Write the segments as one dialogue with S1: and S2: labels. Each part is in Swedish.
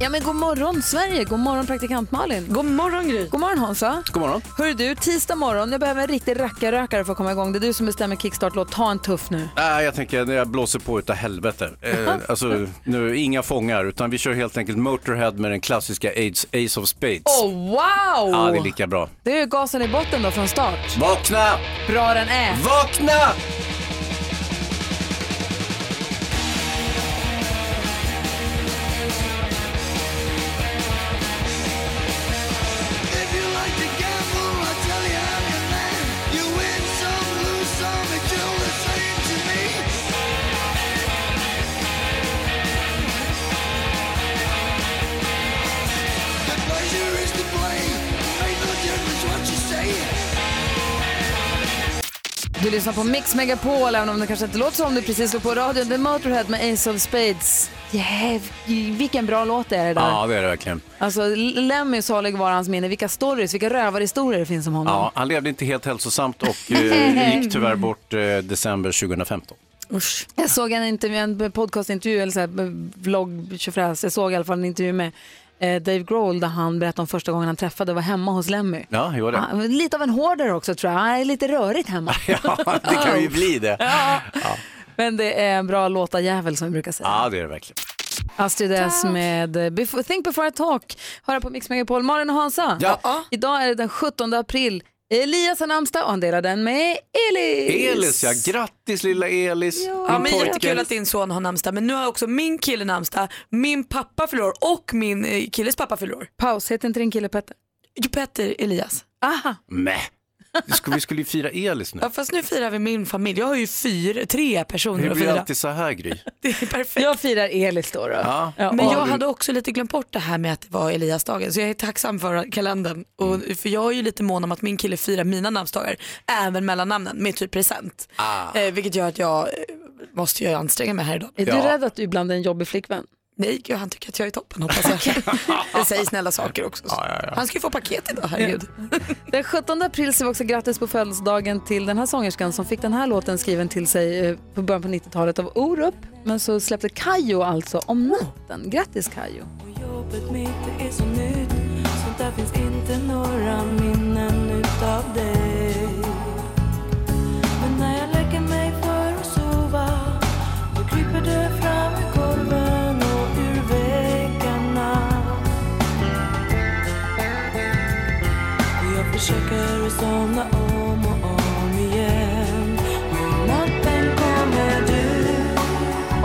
S1: Ja men god morgon Sverige, god morgon praktikant Malin. God morgon Gry. God morgon Hansa. God morgon. Hör du, tisdag morgon, jag behöver en riktig rackarrökare för att komma igång. Det är du som bestämmer kickstart-låt, ta en tuff nu.
S2: Nej, jag tänker när jag blåser på utav helvete. Eh, alltså, nu, inga fångar, utan vi kör helt enkelt Motorhead med den klassiska Ace, Ace of Spades.
S1: Oh wow!
S2: Ja, det är lika bra.
S1: Det är ju gasen i botten då från start.
S2: Vakna!
S1: Bra den är.
S2: Vakna!
S1: Du lyssnar på Mix Megapol, även om det kanske inte låter som du precis slog på radion. Det är Motorhead med Ace of Spades. Yeah, vilken bra låt det är det där.
S2: Ja, det är det verkligen.
S1: Alltså, Lemmy salig var hans minne. Vilka stories, vilka rövarhistorier det finns om honom.
S2: Ja, han levde inte helt hälsosamt och eh, gick tyvärr bort eh, december 2015.
S1: Jag såg en, intervju, en podcastintervju, eller så här, vlogg, tjofräs. Jag såg i alla fall en intervju med eh, Dave Grohl där han berättade om första gången han träffade och var hemma hos Lemmy.
S2: Ja, jo det.
S1: Han var lite av en hoarder också tror jag. Han är lite rörigt hemma.
S2: Ja, det kan ju bli det.
S1: Men det är en bra låtarjävel som vi brukar säga.
S2: Ja, det är det verkligen.
S1: Astrid S med Before, Think before I talk. Höra på Mix Megapol. Malin och Hansa.
S2: Ja.
S1: Idag är det den 17 april. Elias har namnsdag och han delar den med Elis.
S2: Elis, ja. Grattis lilla Elis.
S3: Ja,
S2: Min
S3: men
S2: pojke.
S3: jättekul att din son har namnsdag men nu har också min kille namnsdag, min pappa fyller år och min eh, killes pappa fyller år.
S1: Paus, heter inte din kille Petter?
S3: Jo, Petter Elias.
S1: Aha.
S2: Mäh. Vi skulle- Vi skulle ju fira Elis nu.
S3: Ja, fast nu firar vi min familj. Jag har ju fyra, tre personer
S2: Det
S3: att
S2: blir
S3: fira.
S2: alltid så här Gry.
S3: Det är perfekt.
S1: Jag firar Elis då. då.
S2: Ja.
S3: Men
S1: och-
S3: jag hade också lite glömt bort det här med att det var Eliasdagen så jag är tacksam för kalendern. Och,
S2: Mm.
S3: För jag är ju lite mån om att min kille firar mina namnsdagar även mellan namnen med typ present.
S2: Ah.
S3: Eh, vilket gör att jag eh, måste ju anstränga mig här idag.
S1: Är du
S2: Ja.
S1: rädd att du ibland är en jobbig flickvän?
S3: Nej, gud, han tycker att jag är toppen hoppas jag. Det säger snälla saker också.
S2: Ja, ja, ja.
S3: Han ska ju få paket idag, herregud.
S1: Den 17 april säger vi också grattis på födelsedagen till den här sångerskan som fick den här låten skriven till sig eh, på början på 90-talet av Orup. Men så släppte Kayo alltså om natten. Grattis Kayo.
S4: Jobbet mitt är så nytt så där finns inte några minnen utav dig Men när jag lägger mig för att sova då kryper du fram i korven och ur väggarna Och jag försöker att somna om och om igen Men natten kommer du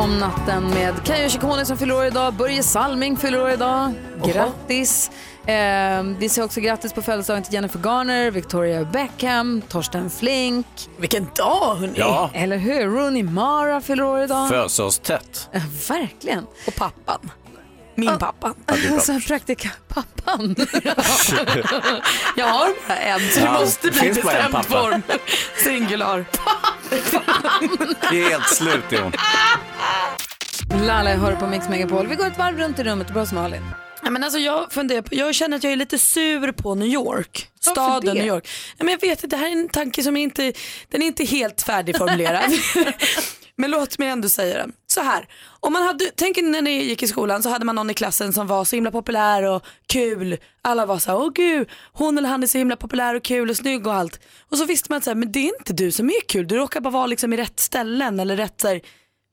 S1: Om natten med Kayo Chikone som fyller år idag, Börje Salming fyller år idag. Grattis! Eh, vi säger också grattis på födelsedagen till Jennifer Garner, Victoria Beckham, Torsten Flink,
S3: Vilken dag hörni.
S2: Ja,
S1: eller hur? Rooney Mara fyller år idag.
S2: fösa oss tätt.
S1: Eh, Verkligen!
S3: Och pappan. Min pappa.
S1: Och sen praktikantpappan.
S3: Jag har bara en så det
S2: Ja,
S3: måste bli
S2: finns bara en
S3: bestämd
S2: pappa.
S3: form. Singular.
S2: Det är helt slut är hon.
S1: Lala hör på Mix Megapol. Vi går ett varv runt i rummet. Bra som Malin.
S3: Ja, men alltså jag, funderar på, jag känner att jag är lite sur på New York.
S1: Varför
S3: Staden
S1: det?
S3: New York. Ja, men jag vet att det här är en tanke som inte den är inte helt färdigformulerad. men låt mig ändå säga den. Så här, om man hade, tänk när ni gick i skolan så hade man någon i klassen som var så himla populär och kul. Alla var så här, åh gud, hon eller han är så himla populär och kul och snygg och allt. Och så visste man att så här, men det är inte du som är kul, du råkar bara vara liksom i rätt ställen eller rätt så här,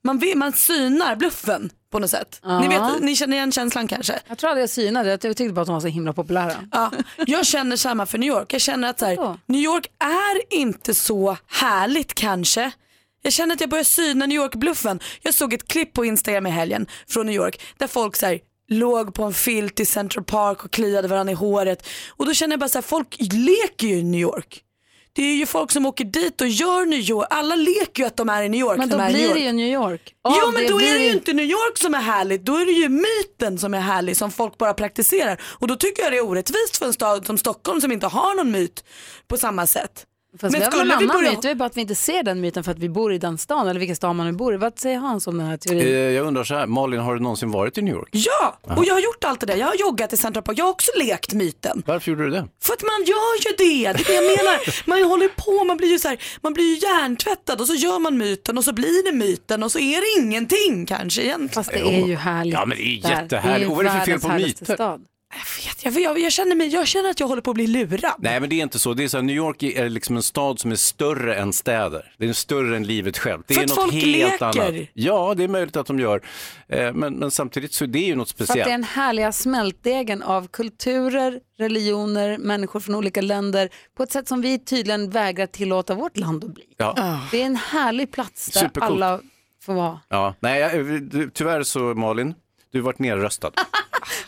S3: man, vet- man synar bluffen på något sätt. Ni, vet, ni känner igen känslan kanske?
S1: Jag tror aldrig jag synade. Jag tyckte bara att de var så himla populära.
S3: Ja, jag känner samma för New York. Jag känner att så här,
S1: Ja.
S3: New York är inte så härligt kanske. Jag känner att jag börjar syna New York-bluffen. Jag såg ett klipp på Instagram i helgen från New York där folk så här, låg på en filt i Central Park och kliade varandra i håret. Och då känner jag bara så här, folk leker ju i New York. Det är ju folk som åker dit och gör New York. Alla leker ju att de är i New York.
S1: Men
S3: när
S1: då
S3: de är i
S1: blir
S3: New
S1: det ju
S3: York.
S1: New York. Av
S3: Jo men då
S1: blir
S3: är det ju
S1: det-
S3: inte New York som är härligt, då är det ju myten som är härlig som folk bara praktiserar. Och då tycker jag det är orättvist för en stad som Stockholm som inte har någon myt på samma sätt.
S1: Fast vi har väl en annan myt, det är bara att vi inte ser den myten för att vi bor i den stan eller vilken stad man nu bor i. Vad säger Hans om den här
S2: Eh,
S1: teorin?
S2: Jag undrar så här, Malin, har du någonsin varit i New York?
S3: Ja,
S2: Eh,
S3: och jag har gjort allt det där. Jag har joggat i Central Park, jag har också lekt myten.
S2: Varför gjorde du det?
S3: För att man gör ju det, det är det jag menar. Man håller på, man blir ju så här, man blir ju hjärntvättad och så gör man myten och så blir det myten och så är det ingenting kanske egentligen.
S1: Fast det är ju härligt.
S2: Ja, men det är ju
S1: där.
S2: jättehärligt.
S1: ju
S2: Och vad är det för fel
S1: världens
S2: på
S1: härligaste
S2: myter?
S1: stad.
S3: Jag, vet, jag, jag, känner mig, jag känner att jag håller på att bli lurad.
S2: Nej, men det är inte så. Det är så här, New York är liksom en stad som är större än städer. Det är större än livet självt. Det
S3: För
S2: är
S3: att
S2: något
S3: folk
S2: helt
S3: leker.
S2: annat. Ja, det är möjligt att de gör. Eh, Men, men samtidigt så är det ju något
S1: För att det är
S2: speciellt.
S1: den härliga smältdegen av kulturer, religioner, människor från olika länder på ett sätt som vi tydligen vägrar tillåta vårt land att bli.
S3: Ah.
S2: Ja.
S1: Det är en härlig plats där
S2: Supercoolt.
S1: alla får vara.
S2: Ja. Nej, jag- eh, du- tyvärr så Malin, du vart nerröstad.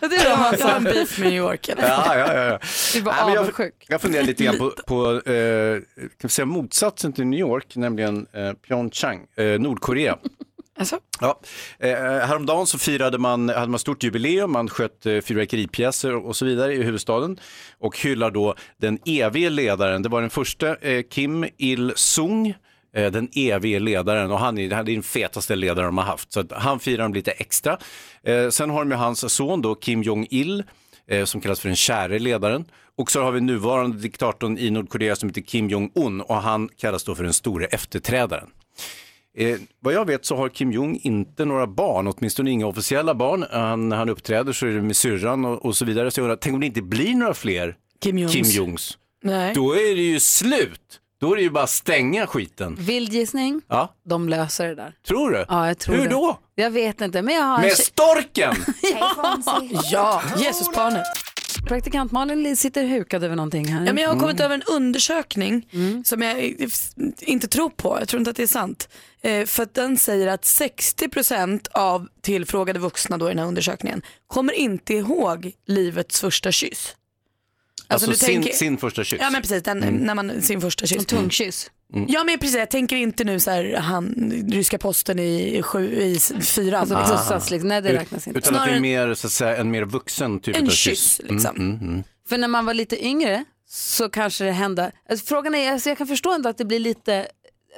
S1: Och du då Hans?
S3: Jag har en beef med New York. eller?
S2: Ja, ja, ja, ja.
S1: Du var
S2: Nej, men jag,
S1: avundsjuk.
S2: jag funderar lite grann på, på eh, kan vi säga motsatsen till New York, nämligen eh, Pyeongchang, eh, Nordkorea.
S3: Alltså?
S2: Ja. Eh, häromdagen så firade man, hade man stort jubileum, man sköt eh, fyrverkeripjäser och så vidare i huvudstaden och hyllar då den evige ledaren. Det var den första eh, Kim Il-Sung, eh, den evige ledaren och han är, han är den fetaste ledaren de har haft. Så att han firar dem lite extra. Eh, sen har de ju hans son då, Kim Jong-Il, eh, som kallas för den käre ledaren. Och så har vi nuvarande diktatorn i Nordkorea som heter Kim Jong-Un och han kallas då för den store efterträdaren. Eh, vad jag vet så har Kim Jong inte några barn, åtminstone inga officiella barn. Han, han uppträder så är det med syrran och, och så vidare. Så jag undrar, tänk om det inte blir några fler
S3: Kim Jongs.
S2: Kim Jongs?
S3: Nej.
S2: Då är det ju slut! Då är det ju bara att stänga skiten.
S1: Vild gissning,
S2: Ja,
S1: de löser det där.
S2: tror du?
S1: Ja, jag tror
S2: Hur
S1: det.
S2: då?
S1: Jag vet inte, men jag har en
S2: Med storken!
S3: Ja, Jesusbarnet.
S1: praktikant Malin sitter hukad över någonting här.
S3: Ja, men jag har
S2: Mm.
S3: kommit över en undersökning som jag eh, inte tror på, jag tror inte att det är sant. Eh, för att den säger att 60% av tillfrågade vuxna då i den här undersökningen kommer inte ihåg livets första kyss.
S2: Alltså,
S3: du
S2: sin, sin första kyss. Mm.
S3: Ja men precis, den, när man, sin första kyss. Mm.
S1: Tungkyss.
S3: Ja men precis, jag tänker inte nu så här, han, ryska posten i, sju, i s- fyran.
S1: Alltså pussas liksom, nej det
S2: Ah. Ut-
S1: räknas inte.
S2: Utan att det
S3: Snarare-
S2: är mer, så att säga, en mer vuxen typ
S3: en
S2: av
S3: kyss,
S2: kyss. mm,
S3: liksom.
S1: För när man var lite yngre så kanske det hände. Alltså, frågan är, alltså, jag kan förstå ändå att det blir lite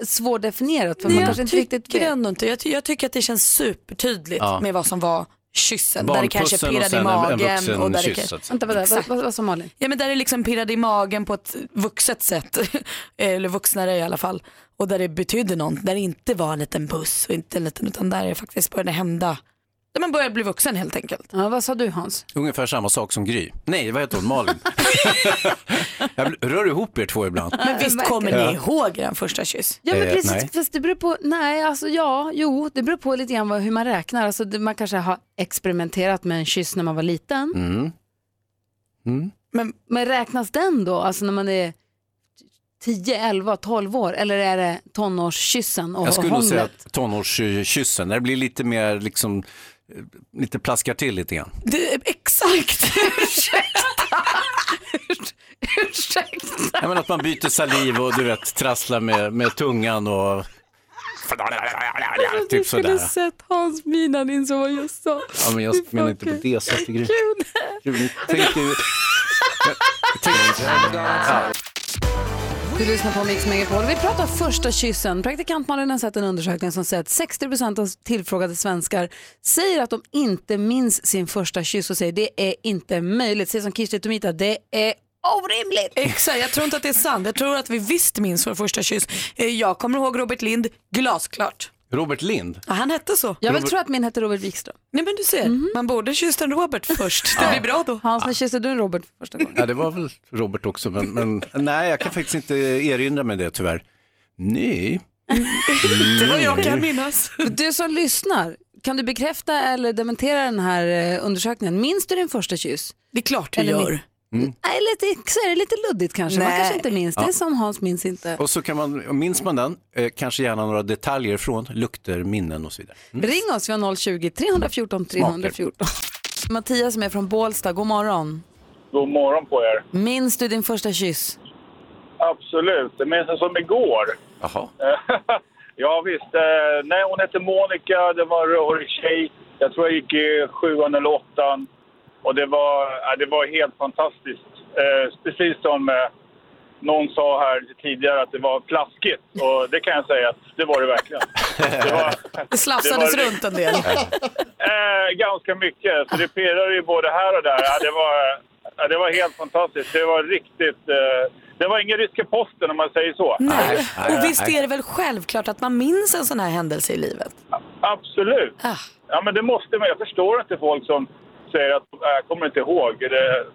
S1: svårdefinierat för man
S3: Jag
S1: kanske inte riktigt
S3: tycker
S1: vet.
S3: ändå inte, jag, ty- jag tycker att det känns supertydligt
S2: Ja.
S3: med vad som var kyssen. Där det kanske
S2: Barnpussen och
S3: pirrade i
S2: sen en, en
S3: magen.
S2: vuxen
S3: och där det
S2: kyss. alltså.
S3: kanske-
S2: så att säga.
S1: Vänta, vad, vad, vad, vad sa Malin?
S3: Ja men där det liksom pirrade i magen på ett vuxet sätt, eller vuxnare i alla fall. Och där det betydde något, där det inte var en liten puss och inte en liten, utan där det faktiskt började hända. Där man började bli vuxen helt enkelt.
S1: Ja, vad sa du Hans?
S2: Ungefär samma sak som Gry. Nej, vad heter hon? Malin. jag rör ihop er två ibland.
S3: Men visst kommer ni ihåg er första kyss?
S1: Ja men
S2: Eh,
S1: precis,
S2: nej.
S1: fast det beror på, nej alltså ja, jo, det beror på lite grann vad, hur man räknar. Alltså, det, man kanske har experimenterat med en kyss när man var liten. Hmm?
S3: Men
S1: Men räknas den då, alltså när man är 10, 11, 12 år eller är det tonårskyssen och
S2: Jag skulle nog
S1: hånglet?
S2: säga att tonårskyssen, när det blir lite mer liksom, eh, lite plaskar till lite grann.
S3: det, exakt!
S2: Jag menar att man byter saliv och du vet trasslar med, med tungan och typ sådär.
S1: sett Hans min, han insåg vad jag sa.
S2: Ja, men jag menar inte på det sättet. Gry. Gry, Tänk dig...
S1: Du lyssnar på Mix Megapol. Vi pratar första kyssen. Praktikant Malin har sett en undersökning som säger att 60 av tillfrågade svenskar säger att de inte minns sin första kyss och säger det är inte möjligt. Säger som Kirsti Tomita, det är orimligt.
S3: Exakt, jag tror inte att det är sant. Jag tror att vi visst minns vår första kyss. Eh, Jag kommer ihåg Robert Lind glasklart.
S2: Robert Lind.
S3: Ja, han hette så.
S1: Jag vill tro att min heter Robert Wikström. Mhm.
S3: Nej men du ser, man borde kyssa en Robert först. Det blir bra då.
S1: Hans, när kysste du en Robert för första gången?
S2: Ja, det var väl Robert också, men, men nej, jag kan faktiskt inte erinra mig det tyvärr. Nej.
S3: Det var jag kan minnas.
S1: Du som lyssnar, kan du bekräfta eller dementera den här eh, undersökningen? Minns du din första kyss?
S3: Det är klart du
S1: Eller min-
S3: gör.
S2: Mm.
S1: Nej, lite, så är det lite luddigt kanske. Man
S3: Nej.
S1: kanske inte minns. Det är som Hans minns inte.
S2: Och så kan man, minns man den, eh, kanske gärna några detaljer från lukter, minnen och så vidare.
S1: Ring oss, vi har 020 314 314. Mattias som är från Bålsta, god morgon.
S5: God morgon på er.
S1: Minns du din första kyss?
S5: Ja, absolut. Jag minns det som igår.
S2: Jaha.
S5: ja, visst. eh, Nej, hon hette Monica. Det var en rörig tjej. Jag tror jag gick i sjuan eller åttan. Och det var, ja, det var helt fantastiskt. Eh, Precis som eh, någon sa här tidigare att det var plaskigt. Och det kan jag säga att det var det verkligen. Det, var,
S3: Det slafsades
S5: var-
S3: runt en del.
S5: Eh, ganska mycket. Så det pirrade ju både här och där. Ja, det, var, ja, det var helt fantastiskt. Det var riktigt... Eh, det var ingen ryska posten om man säger så.
S3: Nej.
S2: nej,
S3: Och visst
S2: nej.
S3: är det väl självklart att man minns en sån här händelse i livet?
S5: Absolut.
S3: Ah.
S5: Ja, men det måste man. Jag förstår inte folk som säger att "Äh, jag kommer inte ihåg. Det,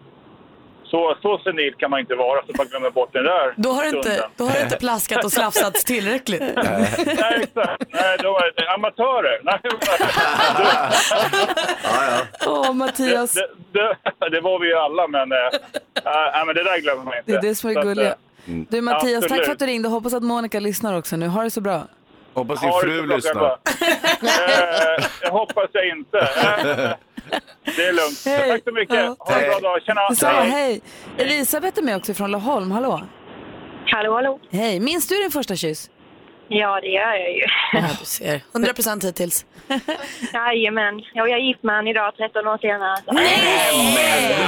S5: så, så senil kan man inte vara så man glömmer bort den där
S3: Då har, det inte,
S5: stunden.
S3: då har det inte plaskat och slafsats tillräckligt.
S5: Nej, exakt. Nej, då var det amatörer. Nej,
S1: Åh, Mattias.
S5: det, det, det var vi ju alla, men, eh, äh, men det där glömmer man inte.
S1: Det är det som är det
S5: Så att,
S1: gulliga.
S5: eh,
S2: Mm.
S1: Du Mattias, tack
S5: Absolut.
S1: för att du ringde. Hoppas att Monica lyssnar också nu. Ha det så bra.
S2: Hoppas din
S5: Ja, det är
S2: fru
S5: så klart jag
S2: lyssnar.
S5: bara. Eh, Jag hoppas jag inte. Eh, Det är lugnt.
S1: Hej.
S5: Tack så mycket.
S1: Ja.
S5: Ha en bra dag. Tjena.
S1: Så, hej. Elisabeth är med också från Laholm. Hallå.
S6: Hallå, hallå.
S1: Hej. Minns du din första kyss?
S6: Ja, det gör jag ju.
S3: Ja, du ser. 100% hittills.
S6: Jajamän. Ja, jag är gift med han idag, 13 år senare. Så.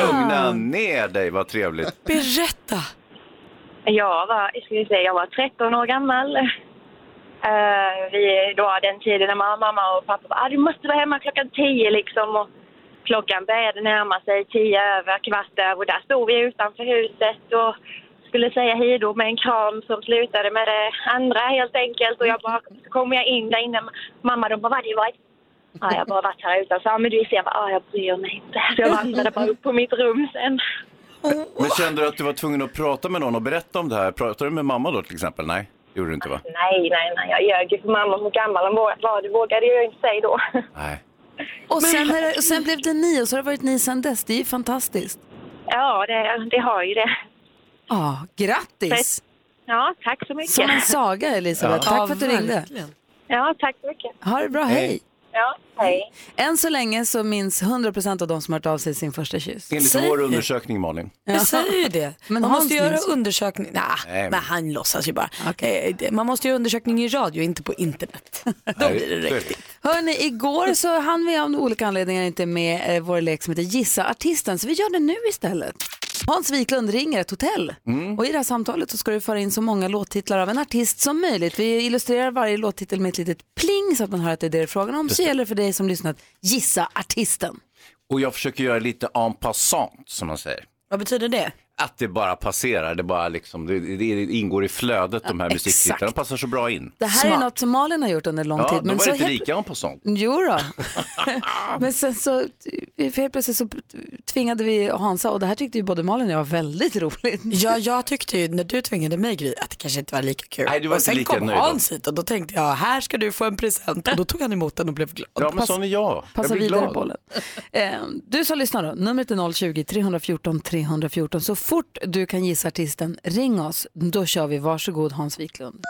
S2: Lugna ner dig, vad trevligt.
S3: Berätta!
S6: Jag var, jag skulle säga, jag var 13 år gammal. Eh, vi, det var den tiden när mamma, mamma och pappa bara, ah, du måste vara hemma klockan 10 liksom. Och klockan började närma sig 10 över, kvart över. Och där stod vi utanför huset och skulle säga hej då med en kram som slutade med det andra helt enkelt. Och jag bara, så kom jag in där inne. Mamma de bara, vad har du varit? Ja, jag har bara varit här utanför. Ja, men du ser, jag bara, ah, jag bryr mig inte. Så jag vandrade bara upp på mitt rum sen.
S2: Men kände du att du var tvungen att prata med någon och berätta om det här? Pratade du med mamma då till exempel? Nej, det gjorde du inte va?
S6: Nej, nej, nej. Jag ljög ju för mamma hur gammal hon var. var. Det vågade jag inte säga då.
S2: Nej.
S1: Och sen, är det, och sen blev det ni och så har det varit ni sen dess. Det är ju fantastiskt.
S6: Ja, det, det har ju det.
S1: Ja, grattis!
S6: Ja, tack så mycket.
S1: Som en saga Elisabeth. Tack för att du ringde.
S6: Ja, tack så mycket.
S1: Ha det bra, hej!
S6: Ja, hej.
S1: Än så länge så minns 100% av de som har hört av sig sin första kyss.
S2: Enligt vår undersökning Malin.
S3: Jag säger ju det.
S1: Men
S3: man
S1: Hans
S3: måste göra
S1: minns.
S3: undersökning. Nah,
S2: Nej, men-
S3: men han låtsas ju bara. Eh, det- Man måste göra undersökning i radio, inte på internet. Då blir det riktigt.
S1: Hörni, igår så hann vi av olika anledningar inte med eh, vår lek som heter Gissa artisten, så vi gör den nu istället. Hans Wiklund ringer ett hotell
S2: Mm.
S1: och i det här samtalet så ska du föra in så många låttitlar av en artist som möjligt. Vi illustrerar varje låttitel med ett litet pling så att man hör att det är det det är frågan om. Så gäller det för dig som lyssnat, gissa artisten.
S2: Och jag försöker göra lite en passant som man säger.
S3: Vad betyder det?
S2: Att det bara passerar, det bara liksom, det, det ingår i flödet de här musiktitlarna. De passar så bra in.
S1: Det här är
S3: Smart.
S1: något som Malin har gjort under lång
S2: Ja,
S1: tid.
S2: de var
S1: så
S2: lite
S1: helt-
S2: lika en passant.
S1: Jo då. Men sen så, för helt plötsligt så tvingade vi Hansa och det här tyckte ju både Malin och jag var väldigt roligt.
S3: Ja, jag tyckte ju när du tvingade mig Gry att det kanske inte var lika kul.
S2: Nej, du var
S3: och
S2: inte
S3: sen
S2: lika
S3: kom
S2: nöjd då.
S3: Hans hit och då tänkte jag, här ska du få en present. Och då tog han emot den och blev glad.
S2: Ja, men sån är jag. jag
S1: Passa
S2: blir
S1: vidare
S2: glad.
S1: bollen. Eh, du som lyssnar då, numret är 020-314 314. Så fort du kan gissa artisten, ring oss. Då kör vi. Varsågod Hans Wiklund.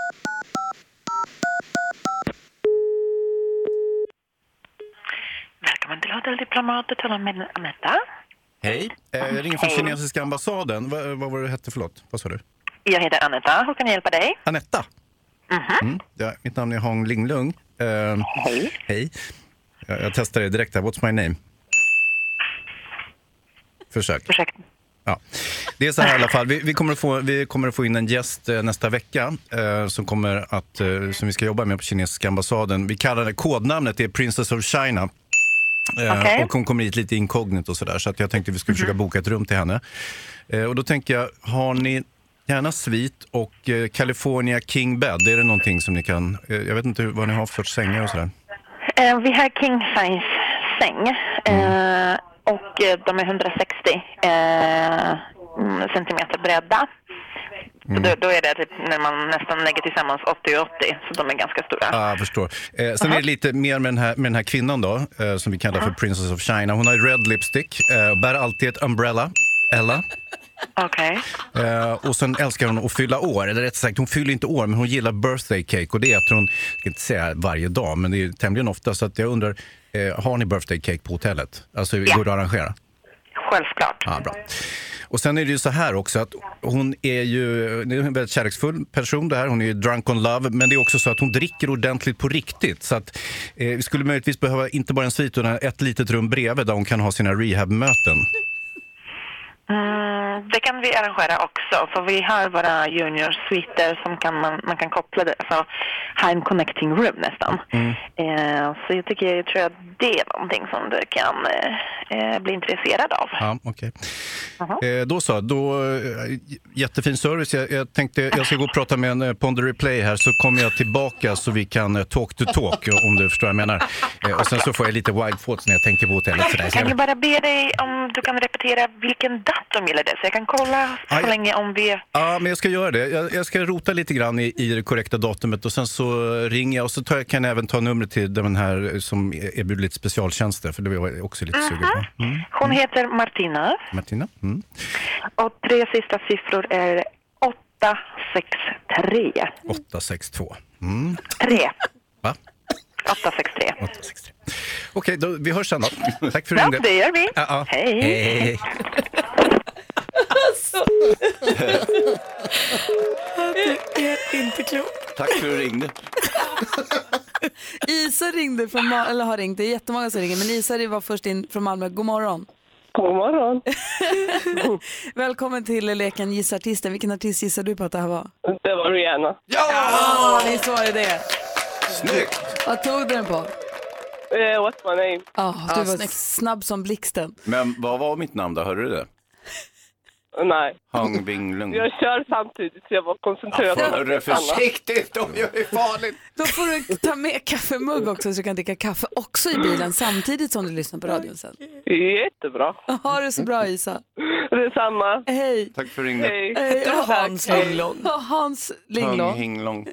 S7: Välkommen till Hotell Diplomat, du talar med Anetta.
S2: Hej, eh, jag ringer från kinesiska ambassaden. Va, vad var det du hette, förlåt? Vad sa du?
S7: Jag heter Anetta, hur kan jag hjälpa dig?
S2: Anetta. Mm. Ja, mitt namn är Hong Linglung. Eh, hej. Hej. Jag, jag testar det direkt här. What's my name? Försök.
S7: Ursäkta.
S2: Ja. Det är så här i alla fall. Vi, vi, kommer att få, vi kommer att få in en gäst eh, nästa vecka eh, som, kommer att, eh, som vi ska jobba med på kinesiska ambassaden. Vi kallar det, kodnamnet är Princess of China. Eh,
S7: Okej.
S2: Och hon kommer hit lite inkognito och sådär. Så att jag tänkte vi skulle försöka boka ett rum till henne. Eh, och då tänker jag, har ni gärna svit och eh, California King Bed? Är det någonting som ni kan... Eh, jag vet inte hur, vad ni har för sorts sängar och sådär.
S7: Eh, vi har King Size säng
S2: Mm.
S7: eh, och eh, de är 160 eh, mm, centimeter bredda.
S2: Mm.
S7: Så då, då är det typ när man nästan lägger tillsammans 80 och 80, så de är ganska stora.
S2: Ja, jag förstår. Eh, sen är det lite mer med den här, med den här kvinnan då, eh, som vi kallar för Princess of China. Hon har ju red lipstick, eh, och bär alltid ett umbrella, Ella.
S7: Okej.
S2: Eh, och sen älskar hon att fylla år, eller rätt sagt, hon fyller inte år, men hon gillar birthday cake. Och det äter hon, jag ska inte säga varje dag, men det är tämligen ofta. Så att jag undrar, eh, har ni birthday cake på hotellet? Alltså, går det att arrangera?
S7: självklart.
S2: Ja, bra. Och sen är det ju så här också att hon är ju det är en väldigt kärleksfull person det här. Hon är ju drunk on love, men det är också så att hon dricker ordentligt på riktigt. Så att eh, vi skulle möjligtvis behöva inte bara en svit utan ett litet rum bredvid där hon kan ha sina rehabmöten.
S7: Mm, det kan vi arrangera också, för vi har våra juniorsviter som kan man, man kan koppla det, alltså ha en connecting room nästan.
S6: Mm.
S7: Eh, så jag tycker, jag tror att det är någonting som du kan eh, eh, bli intresserad av.
S2: Ja, okej. Eh, då så, då, eh, jättefin service. Jag, jag tänkte jag ska gå och prata med en eh, Ponder Replay här så kommer jag tillbaka så vi kan eh, talk to talk om du förstår vad jag menar. Eh, och sen så får jag lite wild thoughts när jag tänker på hotellet. För dig.
S7: Kan jag bara be dig om du kan repetera vilken datum gäller det, så jag kan kolla så
S2: Aj.
S7: länge om vi...
S2: Ja, men jag ska göra det. Jag, jag ska rota lite grann i, i det korrekta datumet och sen så ringer jag och så tar, jag- kan jag även ta numret till den här eh, som erbjuder lite specialtjänster för det var jag också lite sugen på. Mm.
S7: Hon heter Martina
S2: Martina? Mm.
S7: och tre sista siffror är 863.
S2: 862. Mm.
S7: 3.
S2: Va?
S7: 863.
S2: 863. Okej, då, vi hörs sen då. Tack för
S7: Ja,
S2: ringningen.
S7: det gör vi.
S2: Ja, ja.
S7: Hej.
S2: Hej.
S1: Alltså.
S3: Det är inte klokt.
S2: Tack för att du ringde.
S1: Isa ringde från Malmö, eller har ringt, det är jättemånga som ringer, men Isa var först in från Malmö. God morgon.
S8: God morgon.
S1: Välkommen till leken Gissa artisten. Vilken artist gissar du på att det här var?
S8: Det var Rihanna.
S1: Ja, visst var det det.
S2: Snyggt!
S1: Vad tog du den på?
S8: Eh, what's my name?
S1: Ja, du
S8: Ja,
S1: var
S8: snyggt.
S1: snabb som blixten.
S2: Men vad var mitt namn då? Hörde du det?
S8: Nej.
S2: Hang Bing Lung.
S8: Jag kör samtidigt så jag var koncentrerad.
S2: Mm. Ja, hörru, försiktigt, de gör ju farligt.
S1: Då får du ta med kaffemugg också så du kan dricka kaffe också i bilen samtidigt som du lyssnar på radion sen.
S8: Jättebra.
S1: Ha det så bra Isa.
S8: Detsamma.
S1: Hej.
S2: Tack för ringningen.
S1: Hej.
S3: Hette du Hans
S1: Hej.
S3: Linglong?
S1: Ja, Hans
S2: Hang
S1: Linglong.
S2: Hing Long.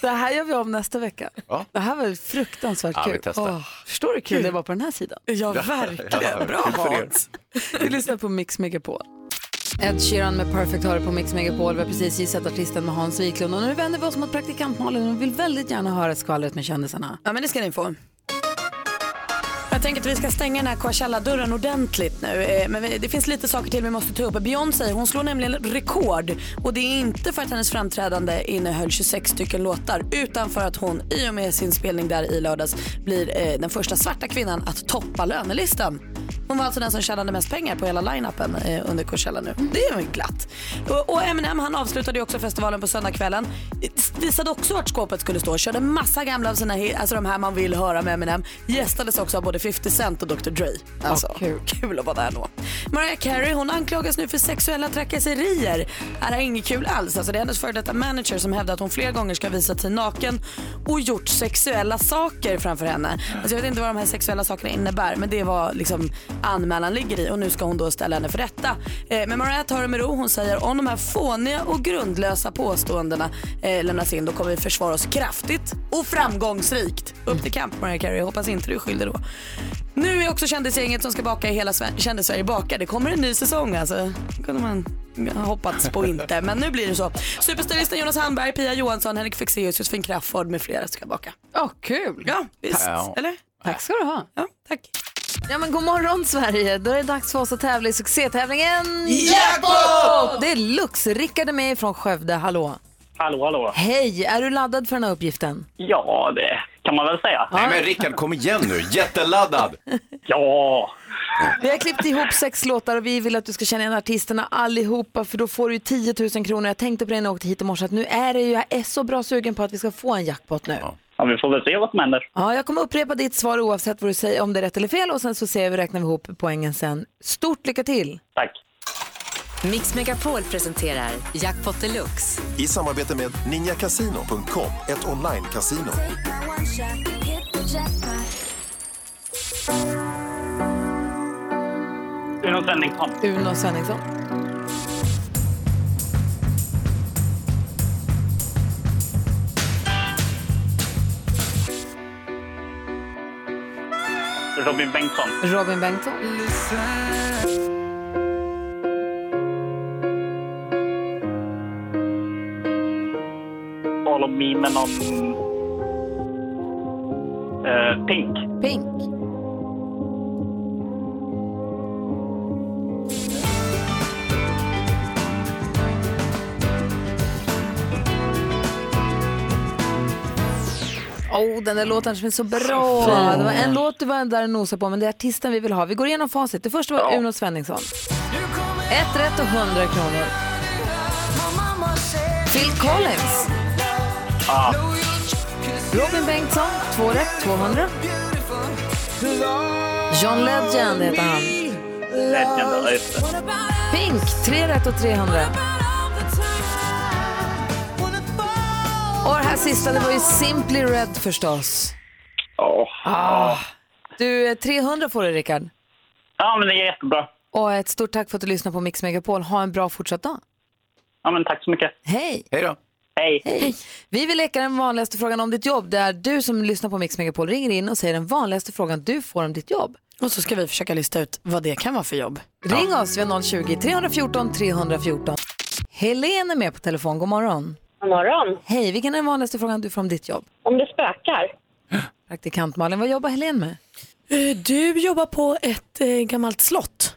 S1: Det här gör vi om nästa vecka.
S2: Ja.
S1: Det här var fruktansvärt
S2: Ja, vi
S1: kul.
S2: testar.
S1: förstår du hur kul det var på den här sidan?
S3: Ja,
S2: Ja,
S3: verkligen. Bra
S2: kul för er.
S3: Hans.
S1: Vi lyssnar på Mix Megapol. Ed Sheeran med Perfect har det på Mix Megapol. Vi har precis gissat artisten med Hans Wiklund. Och nu vänder vi oss mot praktikant Malin. Hon vill väldigt gärna höra skvallret med kändisarna.
S3: Ja, men det ska ni få. Jag tänker att vi ska stänga den här Coachella-dörren ordentligt nu. Eh, Men vi- det finns lite saker till vi måste ta upp. Beyoncé hon slår nämligen rekord. Och det är inte för att hennes framträdande innehöll 26 stycken låtar utan för att hon i och med sin spelning där i lördags blir eh, den första svarta kvinnan att toppa lönelistan. Hon var alltså den som tjänade mest pengar på hela line-upen eh, under Coachella nu. Det är ju glatt. Och, och Eminem han avslutade ju också festivalen på söndagskvällen. S- Visade också vart skåpet skulle stå. Körde massa gamla av sina hit, alltså de här man vill höra med Eminem. Gästades också av både 50 Cent och Dr Dre. Alltså,
S1: kul.
S3: att vara där då. Mariah Carey hon anklagas nu för sexuella trakasserier. Här är inget kul alls. Alltså, det är hennes före detta manager som hävdar att hon flera gånger ska visa sig naken och gjort sexuella saker framför henne. Alltså, jag vet inte vad de här sexuella sakerna innebär men det var liksom anmälan ligger i och nu ska hon då ställa henne för rätta. Eh, men Mariah tar det med ro. Hon säger om de här fåniga och grundlösa påståendena eh, lämnas in då kommer vi försvara oss kraftigt och framgångsrikt. Upp till kamp Mariah Carey. Hoppas inte du är skyldig då. Nu är också kändisgänget som ska baka i hela Sve- kändis-Sverige bakar. Det kommer en ny säsong alltså. kunde man ha hoppats på inte. Men nu blir det så. Superstylisten Jonas Hamberg, Pia Johansson, Henrik Fexeus, Josefin Crafoord med flera ska baka.
S1: Åh, kul!
S3: Ja, visst.
S1: Ja.
S3: Eller?
S1: Tack ska du ha.
S3: Ja, tack.
S1: Ja, men god morgon Sverige! Då är det dags för oss att tävla i succétävlingen
S9: Jackpot!
S1: Det är Lux. Rickard är med från Skövde. Hallå!
S9: Hallå, hallå.
S1: Hej! Är du laddad för den här uppgiften?
S9: Ja, det kan man väl säga.
S2: Nej men Rickard, kom igen nu. Jätteladdad.
S9: Ja.
S1: Vi har klippt ihop sex låtar och vi vill att du ska känna igen artisterna allihopa för då får du ju 10 000 kronor. Jag tänkte på det när jag åkte hit i morse att nu är det ju, jag är så bra sugen på att vi ska få en jackpot nu.
S9: ja, vi får väl se vad som händer.
S1: Ja, jag kommer upprepa ditt svar oavsett vad du säger, om det är rätt eller fel och sen så ser vi, räknar vi ihop poängen sen. Stort lycka till!
S9: Tack.
S10: Mix Megapol presenterar Jackpot Deluxe.
S11: I samarbete med ninjakasino.com, ett online-casino.
S9: Uno Svenningsson.
S1: Uno Svenningsson.
S9: Robin Bengtsson.
S1: Robin Bengtsson.
S9: Follow me med någon... Eh, Pink.
S1: Pink. Oh, den där låten som är så bra. Det var en låt du var där och nosade på, men det är artisten vi vill ha. Vi går igenom facit. Det första var Uno Svenningsson. Ett rätt och 100 kronor. Phil Collins.
S12: Ah.
S1: Robin Bengtsson, två rätt, 200. John Legend heter han.
S9: Legend, ja, just det.
S1: Pink, tre rätt och 300. Och det här sista, det var ju Simply Red förstås.
S9: Ja.
S1: Ah. Du, eh, 300 får du Rickard.
S9: Ja, men det är jättebra.
S1: Och ett stort tack för att du lyssnade på Mix Megapol. Ha en bra fortsatt dag.
S9: Ja, men tack så mycket.
S1: Hej!
S2: Hej då!
S9: Hej!
S1: Hej. Vi vill leka den vanligaste frågan om ditt jobb. Det är du som lyssnar på Mix Megapol ringer in och säger den vanligaste frågan du får om ditt jobb.
S3: Och så ska vi försöka lista ut vad det kan vara för jobb.
S1: Ring oss vid 020-314 314. Helene är med på telefon. God morgon.
S13: God morgon.
S1: Hej, vilken är den vanligaste frågan du får om ditt jobb?
S13: Om det spökar.
S1: Praktikant Malin, vad jobbar Helene med?
S3: Eh, Du jobbar på ett eh, gammalt slott.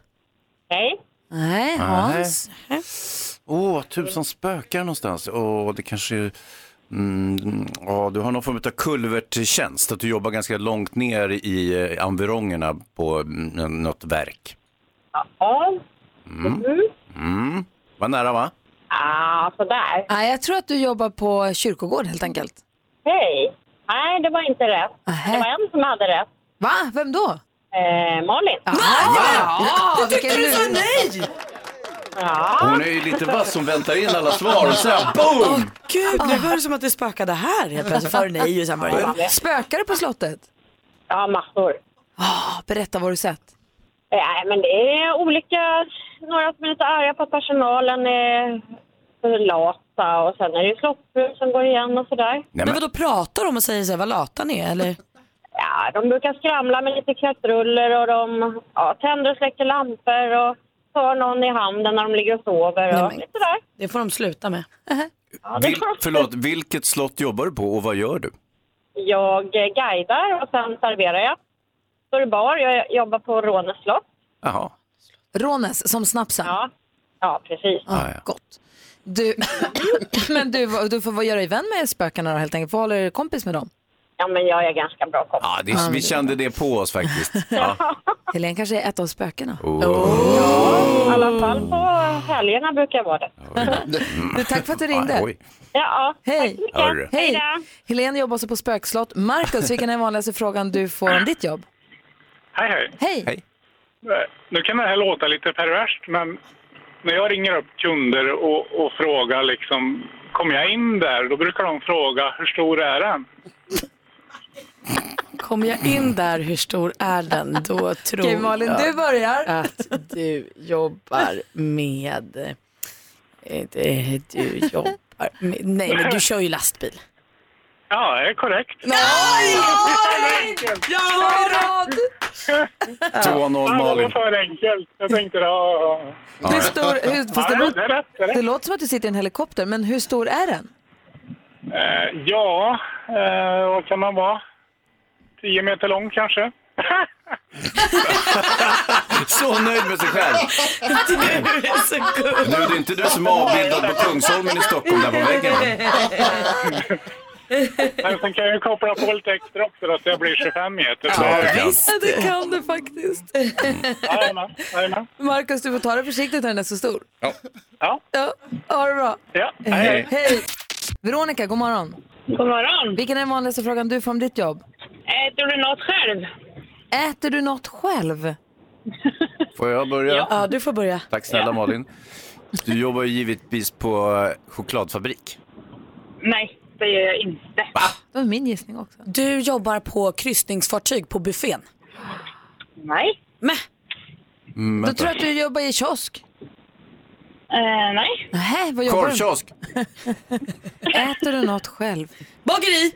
S13: Nej.
S1: Nej,
S2: Hans. Åh, tusen spökar någonstans. Åh, det kanske... Mm, ja, du har någon form av kulverttjänst, att du jobbar ganska långt ner i eh, environgerna på mm, något verk.
S13: Ja.
S2: Mm. Mm. Var nära va?
S13: Ah, sådär.
S1: Nej, jag tror att du jobbar på kyrkogård helt enkelt.
S13: Hej. Nej, det var inte rätt. Det var en som hade rätt.
S1: Va? Vem då?
S13: Eh, Malin.
S1: Ja, vilken lur.
S3: nej!
S13: Ja.
S2: Hon är ju lite vass, hon väntar in alla svar och sen boom!
S3: Gud, nu var det som att det spökade här helt plötsligt. Förr nej och sen var det ja.
S1: Spökar det på slottet?
S13: Ja, massor. Eh,
S1: Ah, berätta vad du sett.
S13: Nej, men det är olika. Några som är lite arga på att personalen är för lata och sen är det ju slotthus som går igen och sådär.
S3: Men vadå, pratar de och säger så här, vad lata ni är eller?
S13: Ja, de brukar skramla med lite klättruller och de ja, tänder och släcker lampor och tar någon i handen när de ligger och sover och
S3: men-
S13: lite där.
S3: Det får de sluta med.
S2: Vil, förlåt, vilket slott jobbar du på och vad gör du?
S13: Jag eh, guidar och sen serverar jag. Står i bar. Jag jobbar på Rånes slott.
S2: Jaha.
S1: Rånes, som snapsen? Ja,
S13: Ah, ja precis.
S1: Gott. Du, men du, vad- du får vad göra i vän med spökarna då helt enkelt. Får hålla er kompis med dem.
S13: Ja, men jag är ganska bra kompis.
S2: Ja, det, vi kände det på oss faktiskt. Ja.
S1: Helene kanske är ett av spökena.
S13: Oh. I alla fall på helgerna brukar jag vara det.
S1: Du, tack för att du ringde.
S13: Mm. Ah, Oj. Ja,
S1: Hej.
S13: Hörru.
S1: Hej.
S13: Hej då.
S1: Helene jobbar också på spökslott. Markus, vilken är den vanligaste frågan du får om ditt jobb?
S14: Hej, hej.
S1: Hej.
S14: Eh, Nu kan det här låta lite perverst, men när jag ringer upp kunder och, och frågar liksom, kommer jag in där? Då brukar de fråga, hur stor är den?
S3: Kommer jag in där, hur stor är den? Då tror
S1: Okej, Malin,
S3: jag
S1: du börjar.
S3: att du jobbar med... eh, det- Du jobbar med... Nej, men du kör ju lastbil.
S14: Ja, det är korrekt.
S3: Nej!
S14: Jag har rad!
S2: 2-0 Malin.
S14: Det var för enkelt. Jag tänkte, ja... ja.
S1: Hur stor, hur, fast det,
S14: Ja, det är rätt, det är
S1: låter,
S14: rätt.
S1: det låter som att du sitter i en helikopter, men hur stor är den?
S14: Eh, ja, eh, vad kan man vara? 10 meter lång kanske?
S2: Så nöjd med sig själv.
S12: Du är så gullig.
S2: Nu är det inte du som är avbildad på Kungsholmen i Stockholm där på väggen. va?
S14: Men sen kan jag ju koppla på lite extra också då, så jag blir 25 meter.
S2: Ja,
S14: Så-
S1: Ja, det kan du faktiskt. Markus, du får ta det försiktigt när den är så stor.
S2: Ja.
S14: Ja.
S1: ja ha det bra.
S14: Ja,
S1: Eh, hej. Veronica, god morgon.
S13: God morgon.
S1: Vilken är den vanligaste frågan du får om ditt jobb?
S13: Äter Eh, du något själv?
S1: Äter du något själv?
S2: Får jag börja?
S3: Ja, du får börja.
S2: Tack snälla Malin. Du jobbar ju givetvis på eh, chokladfabrik.
S13: Nej, det gör jag inte.
S1: Det var min gissning också.
S3: Du jobbar på kryssningsfartyg på buffén.
S13: Nej.
S3: Men.
S2: Mm,
S1: Då tror jag att du jobbar i kiosk.
S13: nej.
S1: Eh, Nej, vad jobbar du med?
S2: Korvkiosk.
S1: Äter du något själv?
S3: Bageri!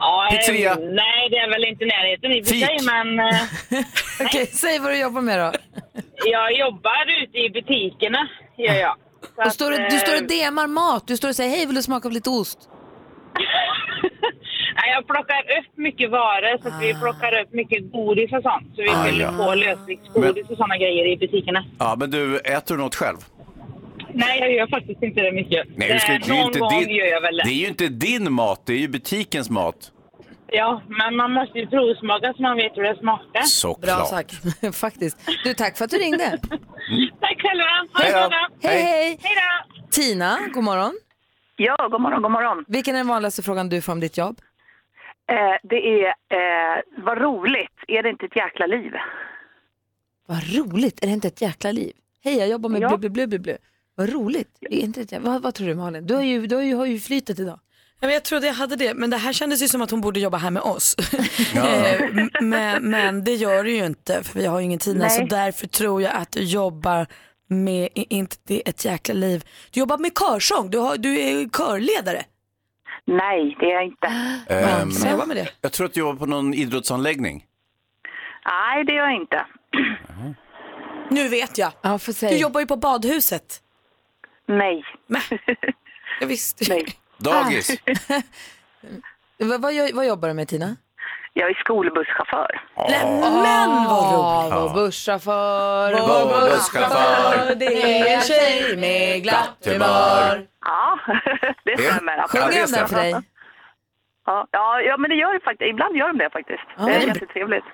S13: Ja, eh,
S1: Pizzeria.
S13: Nej, det är väl inte i närheten i och för
S1: Fik.
S13: sig, men eh,
S1: Okej, säg vad du jobbar med då.
S13: jag jobbar ute i butikerna. Gör jag. Så
S1: Och
S13: att,
S1: står du, du
S13: eh,
S1: står och demar mat. Du står och säger hej, vill du smaka på lite ost?
S13: nej, jag plockar upp mycket varor, så att vi plockar upp mycket godis och sånt. Så vi
S2: Ah,
S13: fyller
S2: ja.
S13: på lösviktsgodis och sådana grejer i butikerna.
S2: Ja, men du, äter du något själv?
S9: Nej, jag gör faktiskt inte det mycket.
S2: Nej, du ska,
S9: Eh,
S2: det, är ju
S9: Någon
S2: inte
S9: gång
S2: din,
S9: gör jag väl det.
S2: det är ju inte din mat, det är ju butikens mat.
S9: Ja, men man måste ju provsmaka så man vet hur det smakar.
S2: Såklart. Bra sagt.
S1: Faktiskt. Du, tack för att du ringde.
S9: Tack själva.
S1: Hej då. Hej, hej.
S9: Hej då.
S1: Tina, god morgon.
S13: Ja, god morgon, god morgon.
S1: Vilken är den vanligaste frågan du får om ditt jobb?
S13: Eh, det är, eh, vad roligt, är det inte ett jäkla liv?
S1: Vad roligt, är det inte ett jäkla liv? Hej, jag jobbar med ja. blu, blu, blu, blu. Vad roligt. Det är inte ett jävla... vad, vad tror du Malin? Du har ju, du har ju, har ju flytet idag.
S3: Ja, men jag trodde jag hade det, men det här kändes ju som att hon borde jobba här med oss. Eh, m- men, men det gör du ju inte, för vi har ju ingen tid nu,
S13: Nej.
S3: så därför tror jag att du jobbar med, i- inte det är ett jäkla liv, du jobbar med körsång, du, har, du är ju körledare.
S13: Nej, det är jag inte.
S2: Ehm,
S3: så jobba med det.
S2: Jag tror att du jobbar på någon idrottsanläggning.
S13: Nej, det är jag inte.
S3: Nu vet jag.
S1: Ja, för
S3: Du jobbar ju på badhuset.
S13: Nej.
S3: Jag visste ju.
S2: Dagis.
S1: Ah. Vad, vad, gör- vad jobbar du med Tina?
S13: Jag är skolbusschaufför.
S1: Men vad roligt!
S13: Ja.
S1: Vår busschaufför,
S13: Vår busschaufför,
S1: det är en tjej med glatt humör.
S13: Ja, det stämmer. absolut.
S1: Sjunger de den för dig?
S13: Ja, ja, ja, men det gör det faktiskt. Ibland gör de det faktiskt. det är jättetrevligt.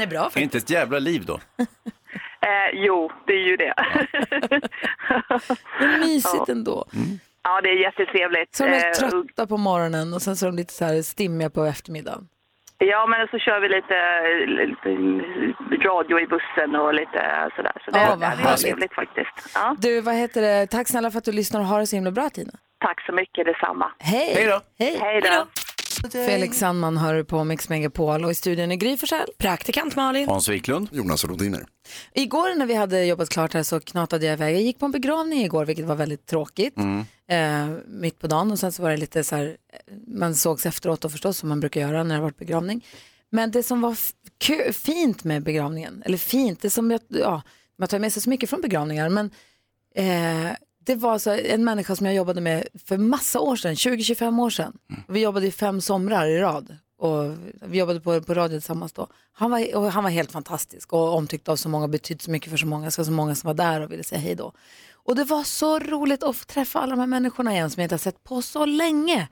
S2: är bra faktiskt. Inte ett jävla liv då.
S13: Eh, jo, det är ju det.
S1: Vad mysigt ändå.
S13: Ja, det är jättetrevligt.
S1: Så de är
S13: Eh,
S1: trötta på morgonen och sen så är de lite så här stimmiga på eftermiddagen.
S13: Ja, men så kör vi lite, lite radio i bussen och lite sådär. Så det,
S1: Ja, vad
S13: det är
S1: härligt.
S13: trevligt faktiskt. Ja.
S1: Du, vad heter det? Tack snälla för att du lyssnar och har det så himla bra Tina.
S13: Tack så mycket, detsamma.
S1: Hej!
S13: Hej då!
S1: Hej!
S13: då!
S1: Felix Sandman hör du på Mix Megapol och i studion är Gry Forssell. Praktikant Malin.
S2: Hans Wiklund.
S15: Jonas Rodiner.
S1: Igår när vi hade jobbat klart här så knatade jag iväg. Jag gick på en begravning igår vilket var väldigt tråkigt. Eh, mitt på dagen och sen så var det lite så här, eh, man sågs efteråt då förstås som man brukar göra när det har varit begravning. Men det som var f- kö- fint med begravningen, eller fint, det som jag, ja, man tar med sig så mycket från begravningar, men eh, det var så här, en människa som jag jobbade med för massa år sedan, 20-25 år sedan. Vi jobbade i fem somrar i rad och vi jobbade på, på radio tillsammans då. Han var, och han var helt fantastisk och omtyckt av så många, betytt så mycket för så många, så så många som var där och ville säga hej då. Och det var så roligt att få träffa alla de här människorna igen som jag inte har sett på så länge.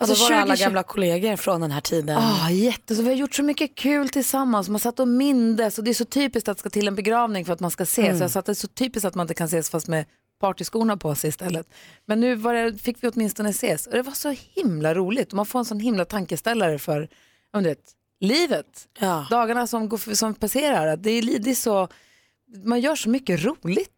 S3: Alltså,
S1: Och då var det
S3: 20
S1: alla
S3: gamla kollegor från den här tiden.
S1: Ja, Ah, jätte. Så vi har gjort så mycket kul tillsammans. Man satt och mindes och det är så typiskt att ska till en begravning för att man ska ses.
S3: Mm.
S1: Så jag satt det är så typiskt att man inte kan ses fast med partyskorna på sig istället. Men nu var det, fick vi åtminstone ses och det var så himla roligt. Och man får en sån himla tankeställare för ja, men du vet, livet. Dagarna som, går, som passerar. Att Det är, li- det är så, man gör så mycket roligt.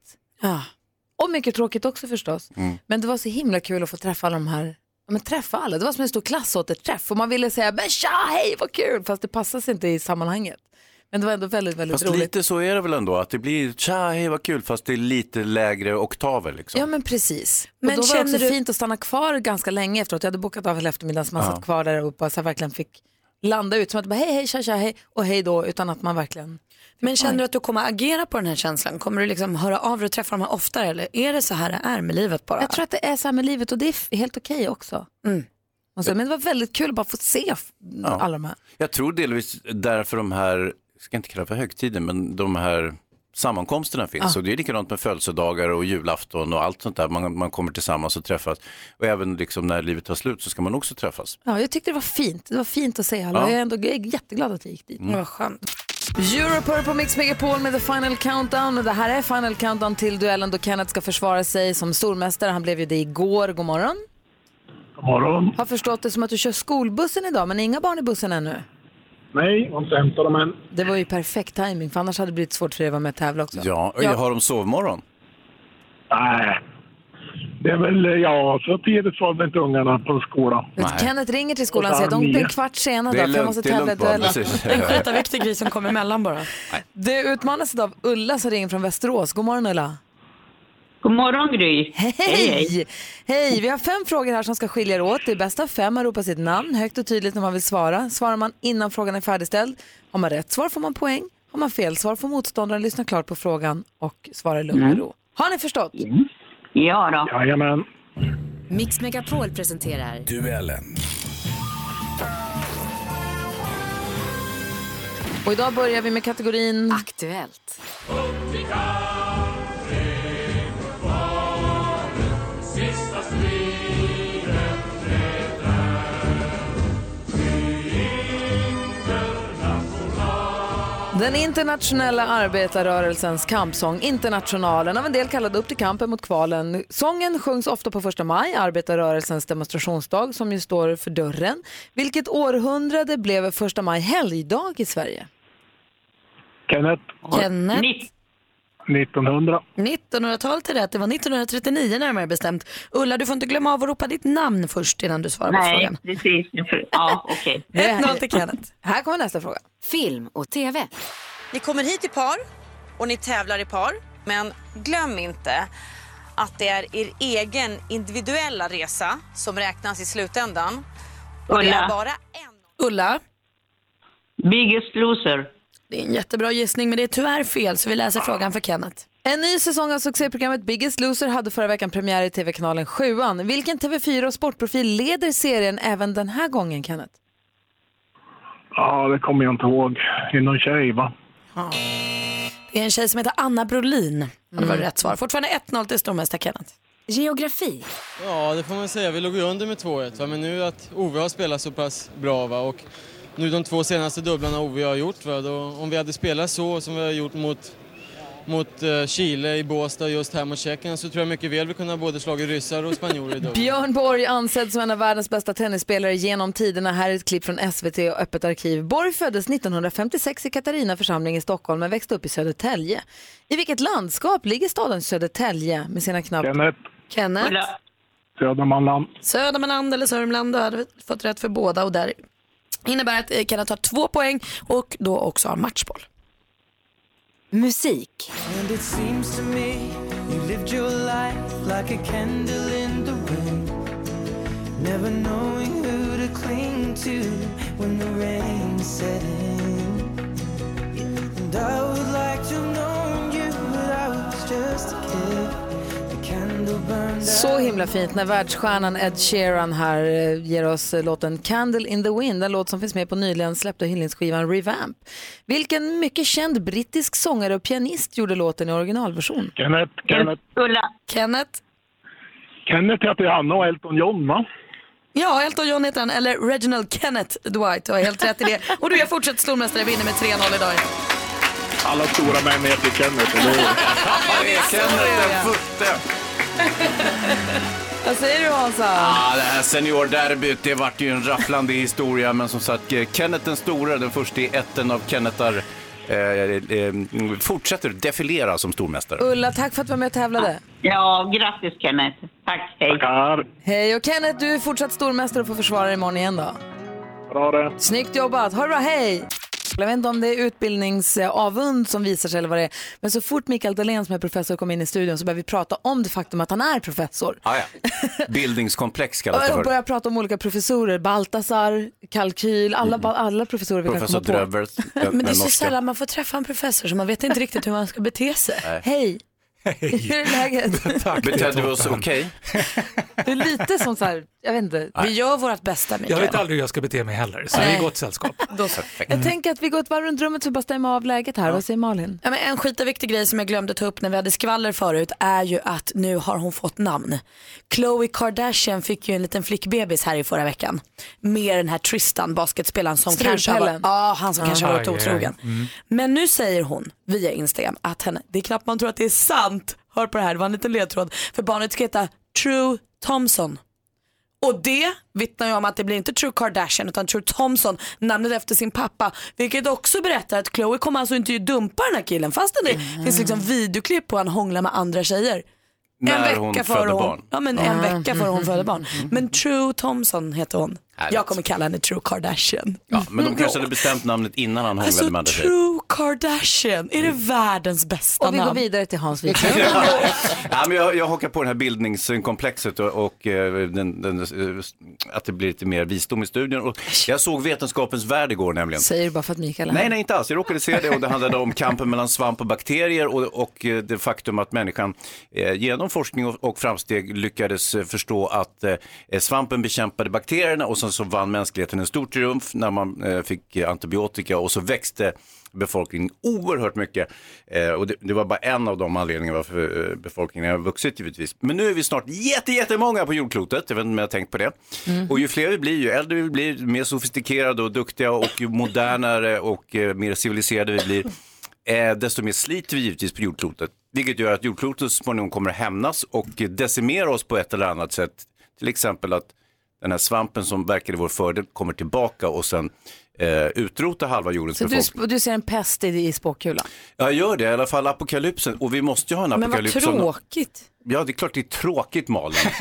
S1: Och mycket tråkigt också förstås.
S3: Mm.
S1: Men det var så himla kul att få träffa alla de här Ja, men träffa alla, det var som en stor klassåterträff och man ville säga men tja, hej vad kul, fast det passade sig inte i sammanhanget. Men det var ändå väldigt, väldigt
S2: Fast
S1: roligt.
S2: lite så är det väl ändå, att det blir tja, hej vad kul, fast det är lite lägre oktaver liksom.
S1: Ja men precis.
S3: Men
S1: och då var det också
S3: känner du-
S1: fint att stanna kvar ganska länge efteråt. Jag hade bokat av hela eftermiddagen så man
S2: Ja.
S1: satt kvar där och bara så här verkligen fick landa ut. Som att bara hej, hej, tja, tja, hej och hej då utan att man verkligen...
S3: Men känner du att du kommer agera på den här känslan? Kommer du liksom höra av dig och träffa dem här oftare eller är det så här det är med livet bara?
S1: Jag tror att det är så här med livet och det är f- helt okej också. Och så, men det var väldigt kul att bara få se f-
S2: Ja.
S1: alla de här.
S2: Jag tror delvis därför de här, jag ska inte kalla det för högtider, men de här sammankomsterna finns.
S1: Ja.
S2: Och det är likadant med födelsedagar och julafton och allt sånt där. Man, man kommer tillsammans och träffas. Och även liksom när livet tar slut så ska man också träffas.
S1: Ja, jag tyckte det var fint. Det var fint att se alla.
S2: Ja.
S1: Jag är ändå jag är jätteglad att jag gick dit.
S2: Mm. Det var
S1: skönt. Europur på Mix Megapol med The Final Countdown. Och det här är Final Countdown till duellen då Kenneth ska försvara sig som stormästare. Han blev ju det igår. God morgon.
S16: God morgon.
S1: Har förstått det som att du kör skolbussen idag, men inga barn i bussen ännu.
S16: Nej, jag har inte hämtat dem än.
S1: Det var ju perfekt timing för annars hade det blivit svårt för dig att vara med och tävla också.
S2: Ja, och jag har de sovmorgon?
S16: Nej. Det är väl, ja, så tidigt var väl inte ungarna på skolan.
S1: Kenneth ringer till skolan och säger att de blir en kvart sena
S16: Det är
S1: idag för jag
S16: lugnt,
S1: måste
S16: det är
S1: tävla i
S16: lugnt bara,
S1: duellen.
S16: precis.
S3: Det är en skitaviktig grej som kommer emellan bara.
S1: Du utmanas idag av Ulla som ringer från Västerås. God morgon Ulla.
S17: God morgon Gry.
S1: Hej!
S17: Hej,
S1: Hej! Vi har fem frågor här som ska skilja er åt. Det är bäst av fem. Man ropar sitt namn högt och tydligt när man vill svara. Svarar man innan frågan är färdigställd. Har man rätt svar får man poäng. Har man fel svar får motståndaren lyssna klart på frågan och svara i lugn och
S17: Mm.
S1: ro. Har ni förstått?
S17: Ja då.
S16: Jajamän.
S10: Mix Megapol presenterar
S16: Duellen.
S1: Och idag börjar vi med kategorin Aktuellt. Den internationella arbetarrörelsens kampsång Internationalen av en del kallad upp till kampen mot kvalen. Sången sjungs ofta på första maj, arbetarrörelsens demonstrationsdag som ju står för dörren. Vilket århundrade blev första maj helgdag i Sverige?
S16: Kenneth,
S3: Kenneth.
S16: 1900.
S3: 1900-talet är rätt, det var 1939 närmare bestämt. Ulla, du får inte glömma av att ropa ditt namn först innan du svarar på
S17: Nej,
S3: frågan.
S17: precis. Jag för- Ja, okej.
S3: 1-0 till Kenneth.
S1: Här kommer nästa fråga.
S10: Film och TV.
S15: Ni kommer hit i par och ni tävlar i par. Men glöm inte att det är er egen individuella resa som räknas i slutändan. Och det är
S17: Ulla.
S15: bara
S3: Ulla?
S17: Biggest loser.
S3: Det är en jättebra gissning men det är tyvärr fel så vi läser frågan för Kenneth.
S1: En ny säsong av succéprogrammet Biggest Loser hade förra veckan premiär i TV-kanalen 7. Vilken TV4 och sportprofil leder serien även den här gången, Kenneth?
S16: Ja, det kommer jag inte ihåg. Det är någon tjej, va?
S3: Det är en tjej som heter Anna Brolin. Och Det var rätt svar. Fortfarande 1-0 till stormästare Kenneth.
S10: Geografi.
S18: Ja, det får man säga. Vi låg ju under med 2-1. Va? Men nu att Ove har spelat så pass bra va? och nu de två senaste dubblarna Ove har gjort. Va? Då, om vi hade spelat så som vi har gjort mot, mot eh, Chile i Båstad just här mot Tjeckien så tror jag mycket väl vi kunde ha både slagit ryssar och spanjorer i dubbel.
S1: Björn Borg ansedd som en av världens bästa tennisspelare genom tiderna. Här är ett klipp från SVT och Öppet arkiv. Borg föddes 1956 i Katarina församling i Stockholm men växte upp i Södertälje. I vilket landskap ligger staden Södertälje med sina knappt...
S16: Kenneth,
S3: Kenneth.
S16: Södermanland.
S3: Södermanland eller Sörmland, då hade vi fått rätt för båda och där innebär att eh, Kenneth har två poäng och då också har matchboll.
S10: Musik.
S4: And it seems to me you lived your life like a candle in the wind, never knowing who to cling to when the rain set in. And I would like to have known you, but I was just a kid. The candle burned
S1: Så himla fint när världsstjärnan Ed Sheeran här eh, ger oss eh, låten Candle in the Wind, en låt som finns med på nyligen släppta hyllningsskivan Revamp. Vilken mycket känd brittisk sångare och pianist gjorde låten i originalversion?
S16: Kenneth, Kenneth.
S17: Ulla.
S3: Kenneth.
S16: Kenneth heter ju Hanna och Elton John, va?
S3: Ja, Elton John heter han, eller Reginald Kenneth Dwight. Du har helt rätt i det. Och du är fortsatt stormästare, vinner med 3-0 idag.
S16: Alla stora män heter Kenneth, eller hur?
S2: Det är Kenneth den futte.
S1: Vad säger du Hansa?
S2: Ja, det här seniorderbyt, det vart ju en rafflande historia. Men som sagt, eh, Kenneth den store, den första i ätten av Kennethar, eh, eh, fortsätter defilera som stormästare.
S1: Ulla, tack för att du var med och tävlade.
S17: Ja, grattis Kenneth. Tack, hej.
S16: Tackar.
S1: Hej och Kenneth, du är fortsatt stormästare och får försvara dig imorgon igen då.
S16: Bra det.
S1: Snyggt jobbat, ha det bra, hej! Jag vet inte om det är utbildningsavund som visar sig eller vad det är, men så fort Mikael Dahlén som är professor kom in i studion så började vi prata om det faktum att han är professor.
S2: Ah, ja. Bildningskomplex
S1: Och
S2: kallas det
S1: jag
S2: för.
S1: började prata om olika professorer, Baltasar, Kalkyl, alla, ba- alla professorer vi
S2: Professor eh,
S1: kan komma på.
S2: Dröver.
S3: Men det är så sällan man får träffa en professor så man vet inte riktigt hur man ska bete sig.
S2: Nej.
S1: Hej! Hur är läget?
S2: Betedde vi oss okej?
S1: Det är lite som så här, jag vet
S2: Mm.
S1: inte.
S3: Vi gör vårt bästa Mikael.
S19: Jag vet aldrig hur jag ska bete mig heller, så vi är i gott sällskap.
S1: Jag tänker att vi går ett varv runt rummet för att bara stämma av läget här. Vad säger Malin?
S3: Ja, men en skitviktig grej som jag glömde ta upp när vi hade skvaller förut är ju att nu har hon fått namn. Khloe Kardashian fick ju en liten flickbebis här i förra veckan. Med den här Tristan, basketspelaren som kanske har varit,
S1: Strulpellen.
S3: ja, han som kanske har
S14: Ah,
S3: varit
S1: Aj, aj, aj.
S3: otrogen.
S1: Mm.
S3: Men nu säger hon via Instagram att henne, det är knappt man tror att det är sant. Hör på det här, det var en liten ledtråd. För barnet ska heta True Thompson. Och det vittnar ju om att det blir inte True Kardashian utan True Thompson, namnet efter sin pappa. Vilket också berättar att Chloe kommer alltså inte dumpa den här killen fastän det
S2: Mm.
S3: finns liksom videoklipp på han hånglar med andra tjejer.
S2: När
S3: en
S2: hon
S3: vecka
S2: födde
S3: före hon,
S2: barn. Ah.
S3: Ja men
S2: Ja.
S3: en vecka före hon födde barn. Men True Thompson heter hon. Jag kommer kalla henne True Kardashian.
S2: Ja, men de kanske hade bestämt namnet innan han hånglade
S3: Alltså
S2: med andra tjejer.
S3: True Kardashian, är det världens bästa
S1: Och vi
S3: namn?
S1: går vidare till Hans Wiklund.
S2: Ja, men jag, jag hakar på det här bildningskomplexet och, och eh, den, den, eh, att det blir lite mer visdom i studion. Och jag såg Vetenskapens värld igår nämligen.
S1: Säger du bara för att Mikael är
S2: Nej,
S1: här?
S2: nej, inte alls. Jag råkade se det och det handlade om kampen mellan svamp och bakterier och, och eh, det faktum att människan eh, genom forskning och, och framsteg lyckades eh, förstå att eh, svampen bekämpade bakterierna och sen så vann mänskligheten en stor triumf när man eh, fick eh, antibiotika och så växte befolkningen oerhört mycket. Eh, och det, det var bara en av de anledningarna varför eh, befolkningen har vuxit givetvis. Men nu är vi snart jätte, jättemånga på jordklotet, jag vet inte om jag har tänkt på det. Och ju fler vi blir, ju äldre vi blir, ju mer sofistikerade och duktiga och ju modernare och eh, mer civiliserade vi blir, eh, desto mer sliter vi givetvis på jordklotet. Vilket gör att jordklotet så småningom kommer att hämnas och decimera oss på ett eller annat sätt. Till exempel att den här svampen som verkar i vår fördel kommer tillbaka och sen eh, utrota halva jordens
S1: Så du,
S2: befolkning.
S1: sp- du ser en pest i, i spåkulan.
S2: Ja, gör det. I alla fall apokalypsen. Och vi måste ju ha en
S1: Men vad
S2: apokalyps. som-
S1: tråkigt.
S2: Ja, det är klart det är tråkigt Malin.
S3: Vi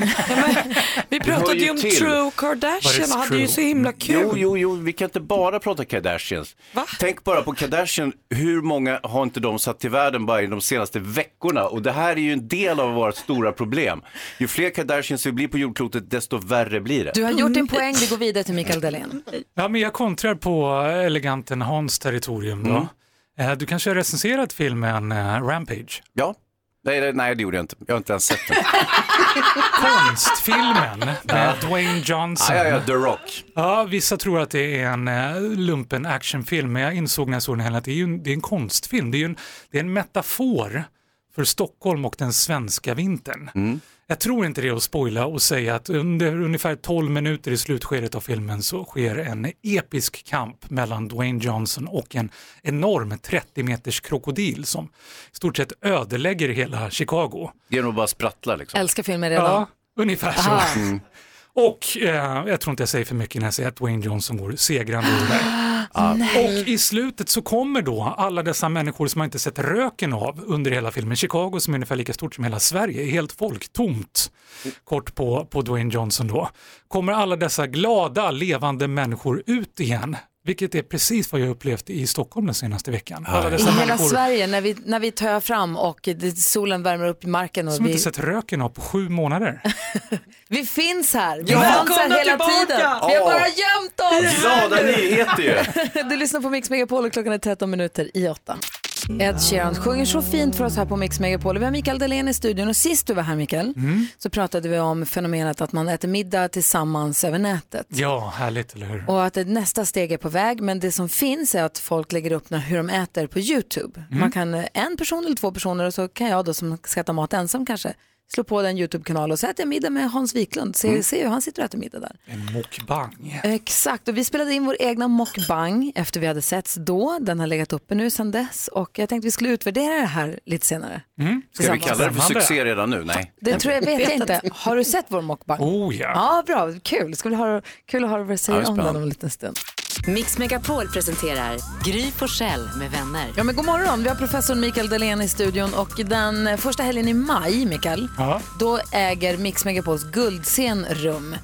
S2: Det hör
S3: pratade
S2: ju
S3: ju om
S2: till.
S3: True Kardashian och hade ju så himla kul.
S2: Jo, jo, jo, vi kan inte bara prata Kardashians. Tänk bara på Kardashian, hur många har inte de satt till världen bara i de senaste veckorna? Och det här är ju en del av vårt stora problem. Ju fler Kardashians vi blir på jordklotet, desto värre blir det.
S1: Du har gjort din poäng, vi går vidare till Mikael Dahlén.
S19: Ja, men jag kontrar på eleganten Hans territorium då.
S2: Mm.
S19: Eh, Du kanske har recenserat filmen eh, Rampage?
S2: Ja. Nej, nej, nej, det gjorde jag inte. Jag har inte ens sett den.
S19: Konstfilmen med Dwayne Johnson.
S2: Ah. Ja, ja, ja, The Rock.
S19: Ja, vissa tror att det är en eh, lumpen actionfilm, men jag insåg när jag såg den här att det är, ju en, det är en konstfilm. Det är, ju en, det är en metafor för Stockholm och den svenska vintern.
S2: Mm.
S19: Jag tror inte det är att spoila och säga att under ungefär 12 minuter i slutskedet av filmen så sker en episk kamp mellan Dwayne Johnson och en enorm 30 meters krokodil som i stort sett ödelägger hela Chicago.
S2: Det är nog bara sprattlar liksom.
S1: Älskar filmer redan.
S19: Ja, ungefär så.
S1: Aha.
S19: Och eh, jag tror inte jag säger för mycket när jag säger att Dwayne Johnson går segrande ur det här. Och i slutet så kommer då alla dessa människor som man inte sett röken av under hela filmen. Chicago som är ungefär lika stort som hela Sverige, är helt folktomt. Kort på, på Dwayne Johnson då. Kommer alla dessa glada, levande människor ut igen. Vilket är precis vad jag upplevt i Stockholm den senaste veckan. Alla
S1: I
S19: dessa
S1: hela
S19: människor
S1: Sverige, när vi, när vi töar fram och det, solen värmer upp marken och
S19: som
S1: vi,
S19: inte sett röken av på sju månader.
S1: vi finns här. Vi
S19: Ja.
S1: fanns här
S19: Välkomna
S1: hela
S19: tillbaka.
S1: tiden. Vi har
S19: Ja.
S1: bara gömt oss.
S2: Glada nyheter
S1: Du lyssnar på Mix Megapol och klockan är 13 minuter i 8. Ed Sheeran sjunger så fint för oss här på Mix Megapol. Vi har Mikael Dahlén i studion och sist du var här Mikael
S19: Mm.
S1: så pratade vi om fenomenet att man äter middag tillsammans över nätet.
S19: Ja, härligt, eller hur?
S1: Och att ett nästa steg är på väg, men det som finns är att folk lägger upp när- hur de äter på YouTube.
S19: Mm.
S1: Man kan eh, en person eller två personer och så kan jag då som ska äta mat ensam kanske slå på den YouTube-kanal och så äter jag middag med Hans Wiklund. Se,
S19: Mm.
S1: se hur han sitter och äter middag där.
S19: En mukbang.
S1: Exakt, och vi spelade in vår egna mockbang efter vi hade setts då. Den har legat uppe nu sedan dess och jag tänkte vi skulle utvärdera det här lite senare.
S2: Ska vi kalla det för
S19: Spännande.
S2: succé redan nu? Nej.
S1: Mm. Det tror jag, vet jag inte. Har du sett vår mockbang?
S19: Oh ja.
S1: Ja, bra, kul. Skulle ha, kul att höra vad du säger
S2: Ja, det är
S1: om den
S2: spännande.
S1: om en liten stund.
S10: Mix Megapol presenterar Gry Forssell med vänner.
S1: Ja, men god morgon. Vi har professor Mikael Dahlén i studion och den eh, första helgen i maj, Mikael,
S10: Ja.
S1: då äger Mix Megapols guldscen rum.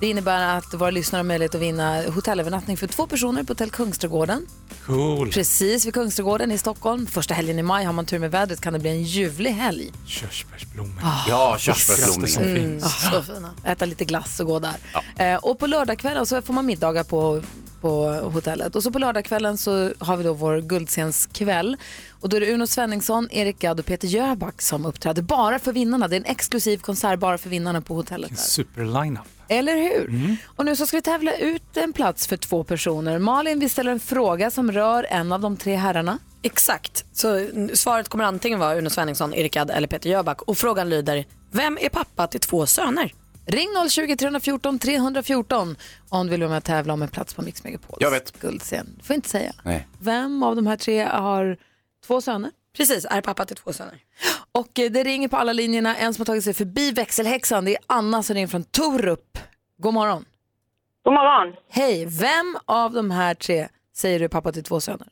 S1: Det innebär att våra lyssnare har möjlighet att vinna hotellövernattning för två personer på Hotell Kungsträdgården.
S19: Cool.
S1: Precis vid Kungsträdgården i Stockholm. Första helgen i maj, har man tur med vädret kan det bli en ljuvlig helg.
S19: Körsbärsblommor. Mm.
S2: Ja,
S19: Vackraste som
S2: körsbärsblomning.
S19: finns.
S1: Ah, så fina. Äta lite glass och gå där. Eh, och på lördagskvällen så får man middagar på, på hotellet. Och så på lördagskvällen så har vi då vår guldscenskväll. Och då är det Uno Svenningsson, Erik Gadd och Peter Jöback som uppträder bara för vinnarna. Det är en exklusiv konsert bara för vinnarna på hotellet.
S19: En
S1: Där.
S19: superline-up. Mm.
S1: Eller hur? Och nu så ska vi tävla ut en plats för två personer. Malin, vi ställer en fråga som rör en av de tre herrarna.
S3: Exakt. Så n- svaret kommer antingen vara Uno Svenningsson, Erik Gadd eller Peter Jöback. Och frågan lyder, vem är pappa till två söner?
S1: Ring 020 314 314 om du vill vara med och tävla om en plats på Mix Megapols
S3: Jag vet.
S1: guldscen. Du får inte säga.
S2: Nej.
S1: Vem av de här tre har två söner? Precis, är pappa till två söner. Och eh, det ringer på alla linjerna. En som har tagit sig förbi växelhäxan, det är Anna som ringer från Torup. God morgon.
S6: God morgon.
S1: Hej, vem av de här tre säger du är pappa till två söner?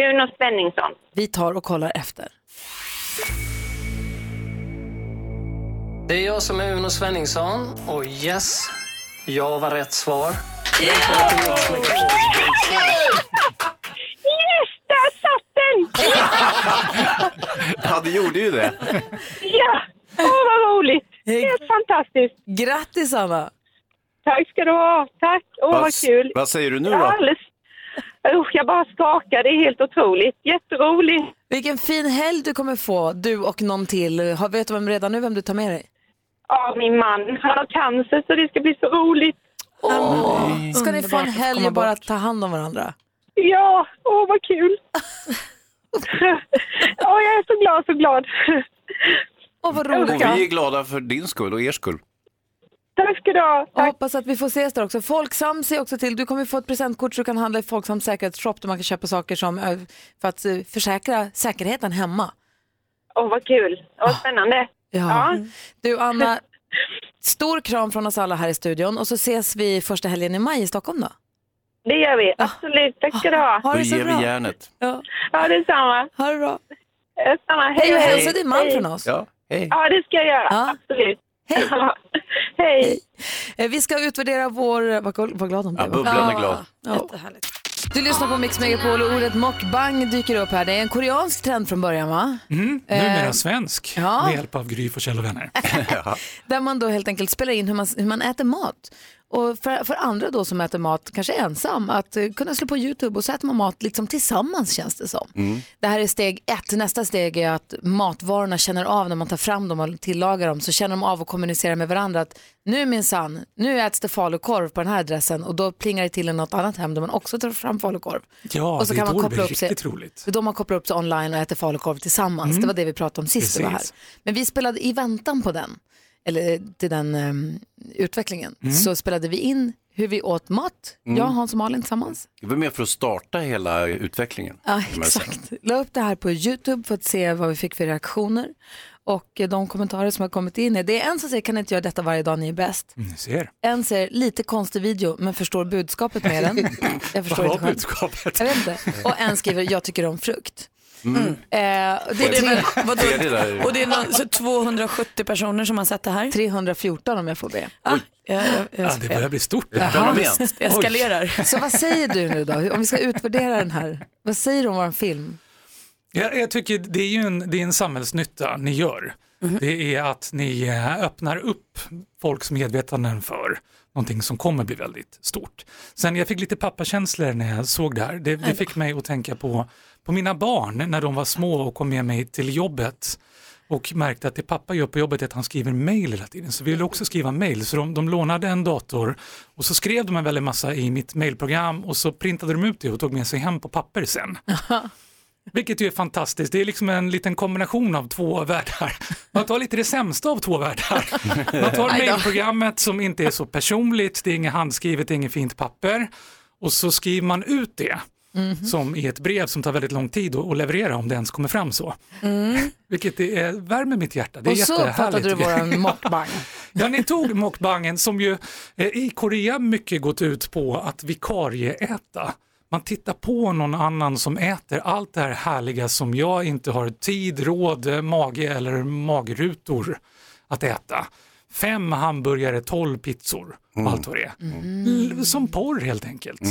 S6: Uno Svenningsson.
S1: Vi tar och kollar efter.
S20: Det är jag som är Uno Svenningsson och yes, jag var rätt svar.
S4: Yes, där satt den!
S2: Ja, det gjorde ju det.
S4: Ja, åh vad roligt. Helt fantastiskt.
S1: Grattis Anna!
S4: Tack ska du ha. Tack, åh vad kul.
S2: Vad säger du nu
S4: Ja,
S2: då?
S4: alldeles. Usch, jag bara skakar, det är helt otroligt. Jätteroligt.
S1: Vilken fin helg du kommer få, du och någon till. Har- Vet du vem redan nu vem du tar med dig?
S6: Ja, min man. Han har cancer så det ska bli så roligt.
S1: Ska ni få en helg och bara ta hand om varandra?
S9: Ja, åh vad kul! Åh, jag är så glad, så glad.
S1: Åh, vad
S2: Och vi är glada för din skull och er skull.
S1: Tack ska du ha. Jag hoppas att vi får ses där också. Folksam ser också till. Du kommer få ett presentkort så du kan handla i Folksams säkerhetsshop där man kan köpa saker som, eh, för att eh, försäkra säkerheten hemma.
S6: Åh, vad kul. Vad spännande.
S1: Ah. Ja. Mm. Du ah. Anna, stor kram från oss alla här i studion och så ses vi första helgen i maj i Stockholm då.
S6: Det gör vi. Absolut. Tack ska du ha.
S1: Ah. Ha
S2: Då ger vi järnet.
S1: Ja,
S6: ja detsamma.
S1: Ha det bra.
S6: Detsamma.
S1: Hej
S6: Ah, Hej,
S1: och hälsa din man
S6: Hej.
S1: från oss.
S2: Ja, hej.
S6: Ja, det ska jag göra.
S1: Ja.
S6: Absolut.
S1: Hej.
S6: Hej.
S1: Eh, Vi ska utvärdera vår, eh, vad kul- vad glad hon
S2: Ja,
S1: blev.
S2: bubblan är glad.
S1: Ja. Du lyssnar på Mix Megapol och ordet mukbang dyker upp här. Det är en koreansk trend från början va?
S19: Mm,
S1: Eh,
S19: numera svensk
S1: ja.
S19: med hjälp av Gry Forssell och vänner.
S1: Där man då helt enkelt spelar in hur man, hur man äter mat. Och för, för andra då som äter mat, kanske ensam, att eh, kunna slå på YouTube och så äter man mat liksom tillsammans känns det som. Det här är steg ett. Nästa steg är att matvarorna känner av när man tar fram dem och tillagar dem. Så känner de av och kommunicerar med varandra att nu minsann, nu äts det falukorv på den här adressen och då plingar det till i något annat hem där man också tar fram falukorv.
S19: Ja,
S1: och så
S19: det
S1: kan
S19: är då det
S1: man koppla
S19: blir
S1: upp sig.
S19: riktigt roligt.
S1: För då man kopplar upp sig online och äter falukorv tillsammans.
S19: Mm.
S1: Det var det vi pratade om sist vi var här.
S19: Precis.
S1: Men vi spelade i väntan på den, eller eh, till den ehm, utvecklingen,
S2: Mm.
S1: så spelade vi in hur vi åt mat,
S2: Mm.
S1: jag, Hans och Malin tillsammans.
S2: Det var mer för att starta hela utvecklingen.
S1: Ja,
S2: kan man säga.
S1: exakt. La upp det här på YouTube för att se vad vi fick för reaktioner. Och eh, de kommentarer som har kommit in är, det är en som säger kan inte göra detta varje dag, ni är bäst.
S19: Mm, Ni ser.
S1: En säger lite konstig video men förstår budskapet med den. Jag förstår
S19: Vad
S1: inte
S19: var
S1: själv.
S19: budskapet?
S1: Jag vet inte. Och en skriver jag tycker om frukt.
S2: Mm.
S1: Eh, och det
S2: Och det
S1: är
S2: är
S1: tre...
S2: väl- vadå? Det är det där.
S3: Och det är någon, så 270 personer som har sett det här.
S1: 314 om jag får be.
S3: Ah, jag, jag, jag,
S19: Ja, det börjar bli stort.
S1: Jaha.
S3: visst, det eskalerar.
S1: Så vad säger du nu då? Om vi ska utvärdera den här. Vad säger du om vår film?
S19: Jag, jag tycker det är ju en, det är en samhällsnytta ni gör. Det är att ni eh, öppnar upp folks medvetanden för någonting som kommer bli väldigt stort. Sen jag fick lite pappakänslor när jag såg det här. Det, det fick mig att tänka på, på mina barn när de var små och kom med mig till jobbet och märkte att det pappa gör på jobbet är att han skriver mejl hela tiden, så vi ville också skriva mejl. Så de, de lånade en dator och så skrev de en väldig massa i mitt mejlprogram och så printade de ut det och tog med sig hem på papper sen. Vilket ju är fantastiskt. Det är liksom en liten kombination av två världar. Man tar lite det sämsta av två världar. Man tar
S21: Aj då.
S19: mejlprogrammet som inte är så personligt, det är inget handskrivet, det är inget fint papper och så skriver man ut det
S21: Mhm.
S19: som i ett brev som tar väldigt lång tid att att leverera om det ens kommer fram så.
S3: Mm.
S19: Vilket det är, värmer mitt hjärta. Det är
S1: Och så uppfattade
S19: jättehärligt.
S1: du våran mockbang.
S19: ja, ni tog mockbangen som ju eh, i Korea mycket gått ut på att vikarieäta. Man tittar på någon annan som äter allt det här härliga som jag inte har tid, råd, eh, mage eller magrutor att äta. Fem hamburgare, tolv pizzor och allt vad det är.
S1: Mm.
S19: L- Som porr helt enkelt. Eh,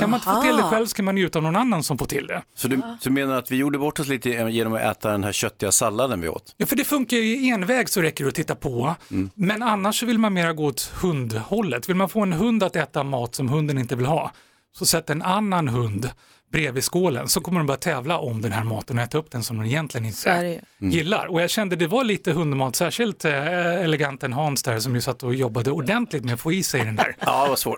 S19: Kan man inte få till det
S2: Aha.
S19: själv ska man njuta av någon annan som får till det.
S2: Så du, så du menar att vi gjorde bort oss lite genom att äta den här köttiga salladen vi åt?
S19: Ja, för det funkar ju i enväg så räcker det att titta på. Men annars så vill man mera gå åt hundhållet. Vill man få en hund att äta mat som hunden inte vill ha, så sätt en annan hund bredvid skålen så kommer de börja tävla om den här maten och äta upp den som de egentligen
S1: Så
S19: inte
S1: är det ju.
S19: gillar. Och jag kände det var lite hundmat, särskilt eh, eleganten Hans där som ju satt och jobbade ordentligt med att få i sig den där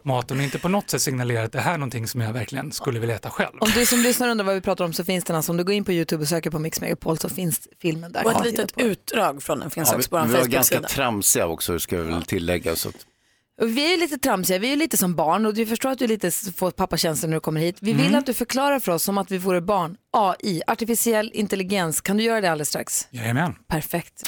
S19: maten och inte på något sätt signalerade att det här är någonting som jag verkligen skulle vilja äta själv.
S1: Om du som lyssnar undrar vad vi pratar om så finns den alltså, om du går in på YouTube och söker på Mix Megapol så finns filmen där.
S3: Och
S1: Ja.
S3: ett litet utdrag från den finns
S2: Ja,
S3: också på vår
S2: vi, vi var ganska
S3: Facebook-sida.
S2: tramsiga också ska vi väl tillägga. Så att,
S1: Och Vi är ju lite tramsiga, vi är ju lite som barn och du förstår att du lite s- får pappakänslor när du kommer hit. Vi vill
S19: Mm.
S1: att du förklarar för oss som att vi vore barn. AI, artificiell intelligens, kan du göra det alldeles strax?
S19: Jajamän.
S1: Perfekt.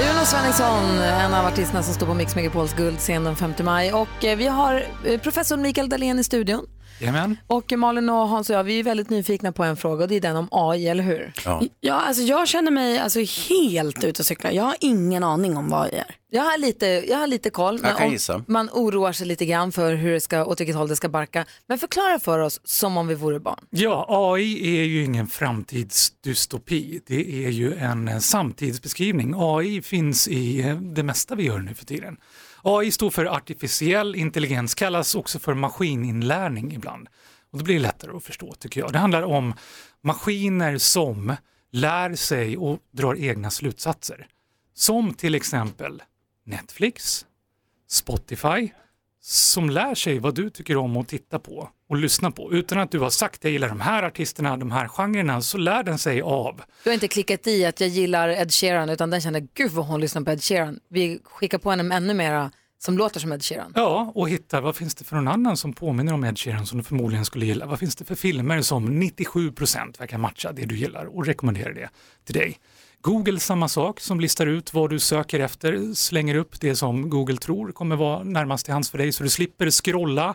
S1: Jonas Svenningsson, en av artisterna som står på Mix Megapols guldscen den 5 maj. Och eh, vi har eh, professor Mikael Dahlén i studion.
S19: Jajamän.
S1: Och eh, Malin och Hans och jag, vi är ju väldigt nyfikna på en fråga och det är den om AI, eller hur?
S2: Ja.
S3: Ja, alltså jag känner mig alltså helt ute och cyklar. Jag har ingen aning om vad jag är.
S1: Jag har lite, jag har lite koll. men
S3: kan
S1: om-
S3: gissa.
S1: Man oroar sig lite grann för hur det ska, åt vilket håll det ska barka. Men förklara för oss som om vi vore barn.
S19: Ja, AI är ju ingen framtidsdystopi. Det är ju en eh, samtidsbeskrivning. AI finns i eh, det mesta vi gör nu för tiden. AI står för artificiell intelligens, kallas också för maskininlärning ibland. Och det blir lättare att förstå tycker jag. Det handlar om maskiner som lär sig och drar egna slutsatser. Som till exempel Netflix, Spotify, som lär sig vad du tycker om att titta på och lyssna på. Utan att du har sagt jag gillar de här artisterna, de här genrerna, så lär den sig av.
S1: Du har inte klickat i att jag gillar Ed Sheeran utan den känner gud vad hon lyssnar på Ed Sheeran. Vi skickar på henne ännu mera som låter som Ed Sheeran.
S19: Ja, och hitta vad finns det för någon annan som påminner om Ed Sheeran som du förmodligen skulle gilla? Vad finns det för filmer som 97% verkar matcha det du gillar och rekommenderar det till dig? Google samma sak som listar ut vad du söker efter, slänger upp det som Google tror kommer vara närmast till hands för dig så du slipper scrolla.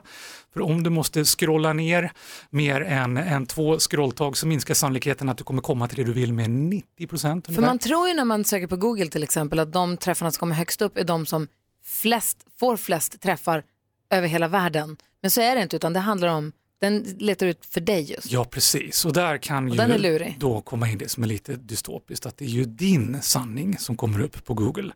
S19: För om du måste scrolla ner mer än, än två scrolltag så minskar sannolikheten att du kommer komma till det du vill med 90% ungefär.
S1: För man tror ju när man söker på Google till exempel att de träffarna som kommer högst upp är de som flest, får flest träffar över hela världen. Men så är det inte utan det handlar om, den letar ut för dig just.
S19: Ja, precis. Och där kan
S1: Och
S19: ju
S1: den är lurig.
S19: då komma in det som är lite dystopiskt, att det är ju din sanning som kommer upp på Google.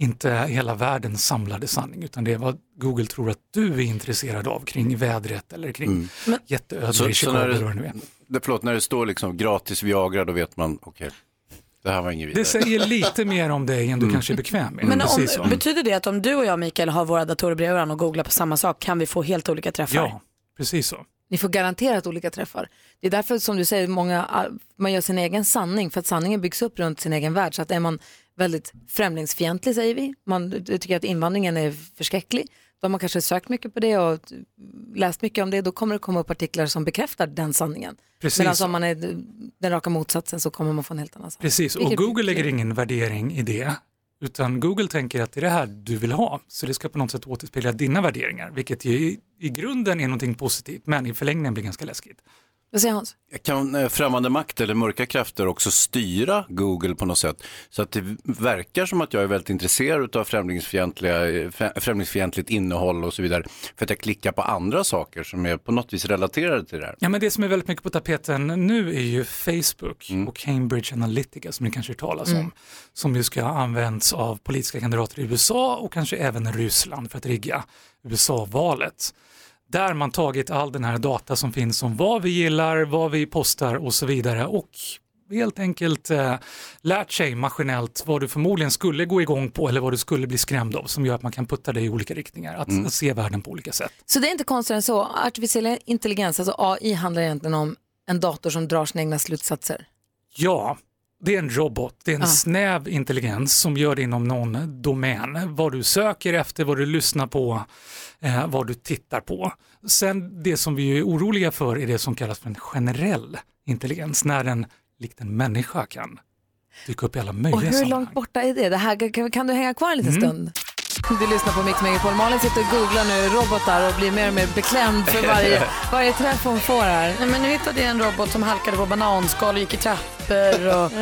S19: Inte hela världens samlade sanning, utan det är vad Google tror att du är intresserad av kring vädret eller kring
S2: Mm.
S19: jätteödlor
S2: Så-
S19: i
S2: så
S19: Chicago
S2: när det-
S19: eller vad det nu är.
S2: Det, förlåt, när det står liksom gratis Viagra då vet man, okej, det här var inget vidare.
S19: Det säger lite mer om dig än du
S2: Mm.
S19: kanske är bekväm med.
S3: Men om,
S19: Precis så.
S3: betyder det att om du och jag Mikael har våra datorer bredvid varandra och googlar på samma sak kan vi få helt olika träffar?
S19: Ja, precis så.
S1: Ni får garanterat olika träffar. Det är därför som du säger, många, man gör sin egen sanning för att sanningen byggs upp runt sin egen värld. Så att är man väldigt främlingsfientlig säger vi, man tycker att invandringen är förskräcklig, då har man kanske sökt mycket på det och läst mycket om det, då kommer det komma upp artiklar som bekräftar den sanningen.
S19: Precis
S1: Men
S19: så.
S1: alltså om man är den raka motsatsen så kommer man få en helt annan sanning.
S19: Precis, och
S1: Vilket-
S19: Google lägger ingen värdering i det, utan Google tänker att det är det här du vill ha, så det ska på något sätt återspegla dina värderingar, vilket ju i, i grunden är någonting positivt, men i förlängningen blir ganska läskigt.
S1: Vad säger Hans?
S2: Kan eh, främmande makt eller mörka krafter också styra Google på något sätt? Så att det verkar som att jag är väldigt intresserad av främlingsfientliga, eh, frä- främlingsfientligt innehåll och så vidare. För att jag klickar på andra saker som är på något vis relaterade till det här.
S19: Ja, men det som är väldigt mycket på tapeten nu är ju Facebook och Cambridge Analytica som ni kanske hört talas om, Mm. som ju ska ha använts av politiska kandidater i USA och kanske även Ryssland för att rigga USA-valet. Där man tagit all den här data som finns om vad vi gillar, vad vi postar och så vidare och helt enkelt eh, lärt sig maskinellt vad du förmodligen skulle gå igång på eller vad du skulle bli skrämd av som gör att man kan putta dig i olika riktningar, att, att se världen på olika sätt.
S1: Så det är inte konstigt än så. Artificiell intelligens, alltså AI, handlar egentligen om en dator som drar sina egna slutsatser.
S19: Ja, det är en robot. Det är en
S1: Ja.
S19: snäv intelligens som gör det inom någon domän. Vad du söker efter, vad du lyssnar på, eh, vad du tittar på. Sen det som vi är oroliga för är det som kallas för en generell intelligens, när den likt en människa kan dyka upp i alla
S1: Och
S19: möjliga
S1: hur
S19: sammanhang.
S1: långt borta är det? det här, kan, kan du hänga kvar en liten
S19: Mm.
S1: stund? Du lyssnar på Mix Megapol. Malin sitter och googlar nu robotar och blir mer och mer beklämd för varje, varje träff hon får här.
S3: Nej, men nu hittade jag en robot som halkade på bananskal och gick i trappor och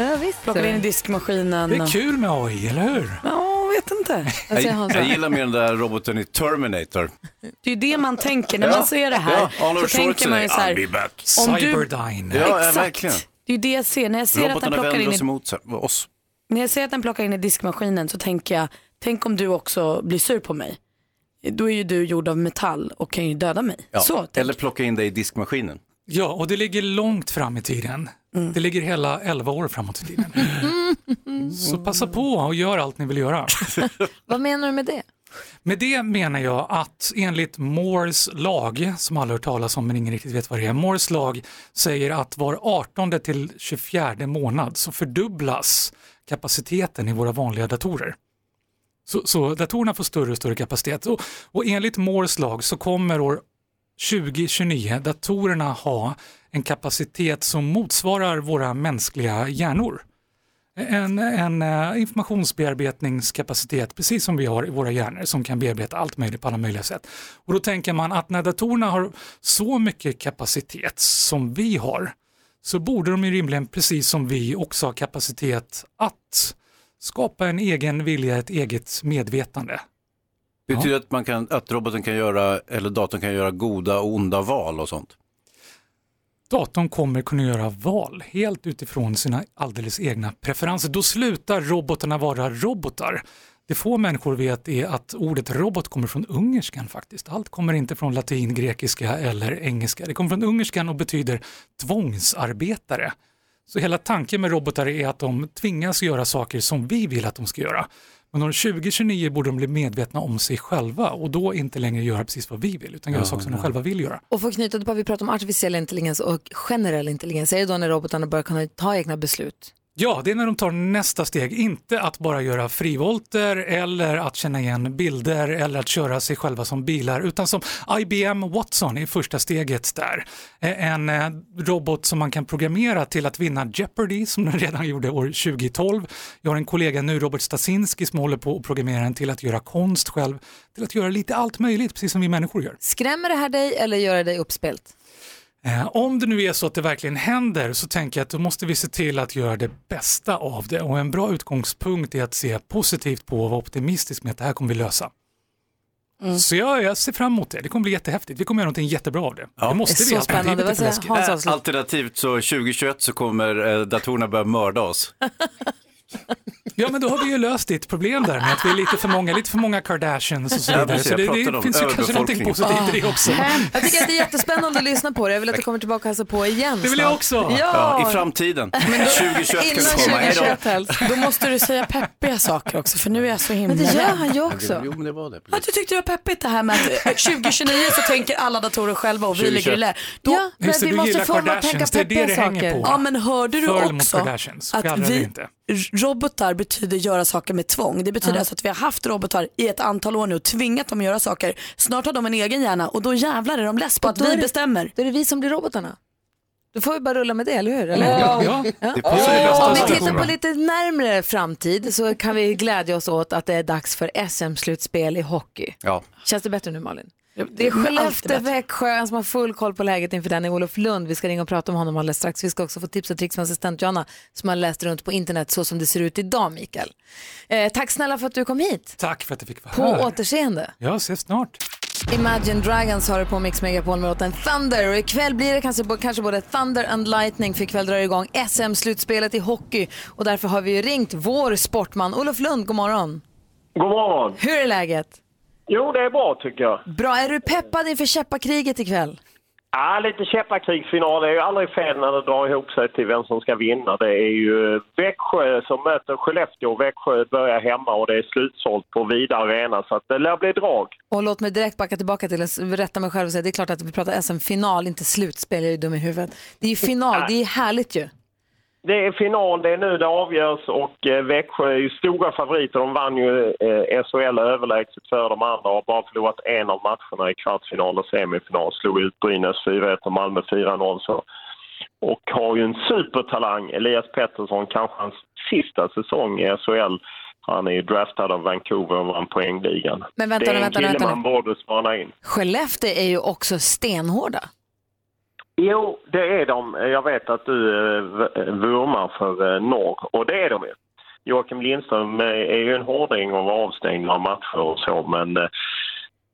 S3: plockade in i diskmaskinen.
S19: Det är kul med AI, eller hur?
S3: Ja, vet inte.
S2: Jag, jag gillar mer den där roboten i Terminator.
S3: Det är ju det man tänker när
S2: Ja,
S3: man ser det här.
S2: ja, Arnold
S3: så tänker man ju så
S2: Schwarzenegger,
S3: här.
S2: I'll be back.
S3: Om du,
S2: Cyberdyne. Ja, ja,
S3: exakt.
S2: verkligen.
S3: Det är ju det jag ser. När jag ser, att den
S2: Robotarna
S3: plockar
S2: vänder
S3: in
S2: oss
S3: i,
S2: emot så- oss.
S3: när jag ser att den plockar in i diskmaskinen så tänker jag, tänk om du också blir sur på mig. Då är ju du gjord av metall och kan ju döda mig.
S2: Ja.
S3: Så.
S2: Eller plocka in dig i diskmaskinen.
S19: Ja, och det ligger långt fram i tiden.
S1: Mm.
S19: Det ligger hela 11 år framåt i tiden. Så passa på och gör allt ni vill göra.
S1: Vad menar du med det?
S19: Med det menar jag att enligt Moores lag, som alla har hört talas om men ingen riktigt vet vad det är, Moores lag säger att var 18 till 24 månad så fördubblas kapaciteten i våra vanliga datorer. Så, så datorerna får större och större kapacitet och, och enligt Moores lag så kommer år 2029 datorerna ha en kapacitet som motsvarar våra mänskliga hjärnor en, en eh, informationsbearbetningskapacitet, precis som vi har i våra hjärnor, som kan bearbeta allt möjligt på alla möjliga sätt. Och då tänker man att när datorerna har så mycket kapacitet som vi har, så borde de ju rimligen, precis som vi, också ha kapacitet att skapa en egen vilja, ett eget medvetande.
S2: Det betyder att, man kan, att roboten kan göra, eller datorn kan göra goda och onda val och sånt.
S19: Datorn kommer kunna göra val helt utifrån sina alldeles egna preferenser. Då slutar robotarna vara robotar. Det få människor vet är att ordet robot kommer från ungerskan faktiskt. Allt kommer inte från latin, grekiska eller engelska. Det kommer från ungerskan och betyder tvångsarbetare. Så hela tanken med robotar är att de tvingas göra saker som vi vill att de ska göra. Men år 2029 borde de bli medvetna om sig själva och då inte längre göra precis vad vi vill utan göra
S1: Ja,
S19: saker som
S1: ja.
S19: de själva vill göra.
S1: Och för att knyta tillbaka, vi pratar om artificiell intelligens och generell intelligens. Är det då när robotarna börjar kunna ta egna beslut?
S19: Ja, det är när de tar nästa steg, inte att bara göra frivolter eller att känna igen bilder eller att köra sig själva som bilar, utan som IBM Watson är första steget där. Eh, En eh, robot som man kan programmera till att vinna Jeopardy som den redan gjorde år 2012. Jag har en kollega nu, Robert Stasinski, som håller på att programmera den till att göra konst själv, till att göra lite allt möjligt, precis som vi människor gör.
S1: Skrämmer det här dig eller gör det dig uppspelt?
S19: Eh, Om det nu är så att det verkligen händer så tänker jag att då måste vi se till att göra det bästa av det och en bra utgångspunkt är att se positivt på och vara optimistisk med att det här kommer vi lösa.
S3: Mm.
S19: Så jag, jag ser fram emot det, det kommer bli jättehäftigt, vi kommer göra någonting jättebra av det. Det måste vi göra. Det är lite för läskigt.
S2: Eh, Alternativt så 2021 så kommer eh, datorerna börja mörda oss.
S19: Ja men då har vi ju löst ditt problem där med att vi är lite för många, lite för många Kardashians och så
S2: Ja,
S19: vidare.
S2: precis,
S19: så det,
S2: jag pratade
S19: det
S2: om
S19: finns ju kanske någonting
S2: överbefolkningen.
S19: positivt i det också.
S1: Jag tycker att det är jättespännande att lyssna på det. Jag vill att du kommer tillbaka och hälsar på igen
S2: Det vill jag
S1: snart.
S2: också.
S1: Ja.
S2: I framtiden. 2021 kan
S1: Innan
S2: vi komma. Hej då.
S1: 2021 helst.
S3: Då måste du säga peppiga saker också för nu är jag så himla Men det gör rädd. han ju också.
S2: Jo, men det var det.
S3: Ja, du tyckte det var peppigt det här med att eh, 2029 så tänker alla datorer själva och vi
S2: 2021.
S3: ligger i lä. Då-
S1: Ja, men
S19: Just det,
S1: vi
S19: du
S1: måste
S19: gillar
S1: få dem att tänka
S19: Kardashians, det är det
S1: peppiga
S19: det hänger
S1: saker.
S19: på.
S3: Ja men hörde du
S19: För eller mot
S3: också
S19: Kardashians?
S3: att
S19: Fjärran
S3: vi,
S19: inte.
S3: robotar betyder göra saker med tvång. Det betyder
S19: Ja.
S3: alltså att vi har haft robotar i ett antal år nu och tvingat dem att göra saker. Snart har de en egen hjärna och då jävlar är de less på att
S1: då är
S3: vi
S1: det-
S3: bestämmer.
S1: Då är det vi som blir robotarna. Då får vi bara rulla med det, eller hur? Eller?
S3: Ja. Ja.
S2: Det passar ju bäst
S1: Om
S2: oss
S1: vi tittar
S2: datorerna.
S1: på lite närmre framtid så kan vi glädja oss åt att det är dags för SM-slutspel i hockey.
S2: Ja.
S1: Känns det bättre nu Malin? Det är
S3: det är alltid
S1: Skellefteå,
S3: bättre.
S1: Växjö som har full koll på läget inför den i Olof Lund. Vi ska ringa och prata om honom alldeles strax. Vi ska också få tips och tricks från assistent Johanna som har läst runt på internet så som det ser ut idag Mikael. Eh, tack snälla för att du kom hit.
S19: Tack för att jag fick vara
S1: På
S19: här.
S1: återseende.
S19: Jag ses snart.
S1: Imagine Dragons har du på Mix Megapol med låten Thunder och ikväll blir det kanske, kanske både Thunder and Lightning för ikväll drar det igång SM-slutspelet i hockey och därför har vi ju ringt vår sportman Olof Lund, god morgon.
S21: God morgon.
S1: Hur är läget?
S21: Jo, det är bra tycker jag.
S1: Bra, är du peppad inför käppakriget ikväll?
S21: Ja, lite käppakrigsfinal är ju aldrig fel när det drar ihop sig till vem som ska vinna. Det är ju Växjö som möter Skellefteå. Växjö börjar hemma och det är slutsålt på Vida Arena så att det lär bli drag.
S1: Och låt mig direkt backa tillbaka till att rätta mig själv och säga det är klart att vi pratar SM-final, inte slutspel, jag är ju dum i huvudet. Det är ju final, det är härligt ju.
S21: Det är final, det är nu det avgörs och eh, Växjö är ju stora favoriter. De vann ju eh, SHL överlägset före de andra och har bara förlorat en av matcherna i kvartsfinal och semifinal. Slog ut Brynäs 4-1 och Malmö 4-0. Så. Och har ju en supertalang, Elias Pettersson, kanske hans sista säsong i SHL. Han är ju draftad av Vancouver och vann poängligan.
S1: Men vänta
S21: det
S1: nu,
S21: är en
S1: vänta nu,
S21: kille
S1: vänta nu.
S21: man borde spana in.
S1: Skellefteå är ju också stenhårda.
S21: Jo, det är de. Jag vet att du eh, v- vurmar för eh, norr och det är de ju. Joakim Lindström eh, är ju en hårding och var avstängd några matcher och så men eh,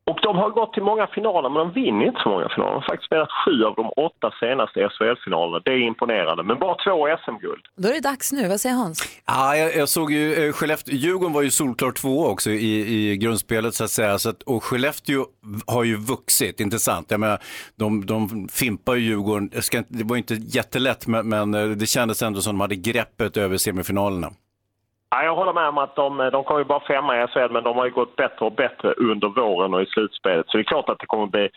S21: och de har gått till många finaler, men de vinner inte så många finaler. De har faktiskt spelat sju av de åtta senaste SHL-finalerna. Det är imponerande, men bara två SM-guld.
S1: Då är det dags nu, vad säger Hans?
S2: Ja, jag, jag såg ju eh, Skellefteå, Djurgården var ju solklar två också i, i grundspelet så att säga. Så att, och Skellefteå har ju vuxit, inte sant? Jag menar, de, de fimpar ju Djurgården, jag ska, inte- det var ju inte jättelätt men, men eh, det kändes ändå som de hade greppet över semifinalerna.
S21: Ja, jag håller med om att de, eh, de kom ju bara femma i SHL, men de har ju gått bättre och bättre under våren och i slutspelet. Så det är klart att det kommer bli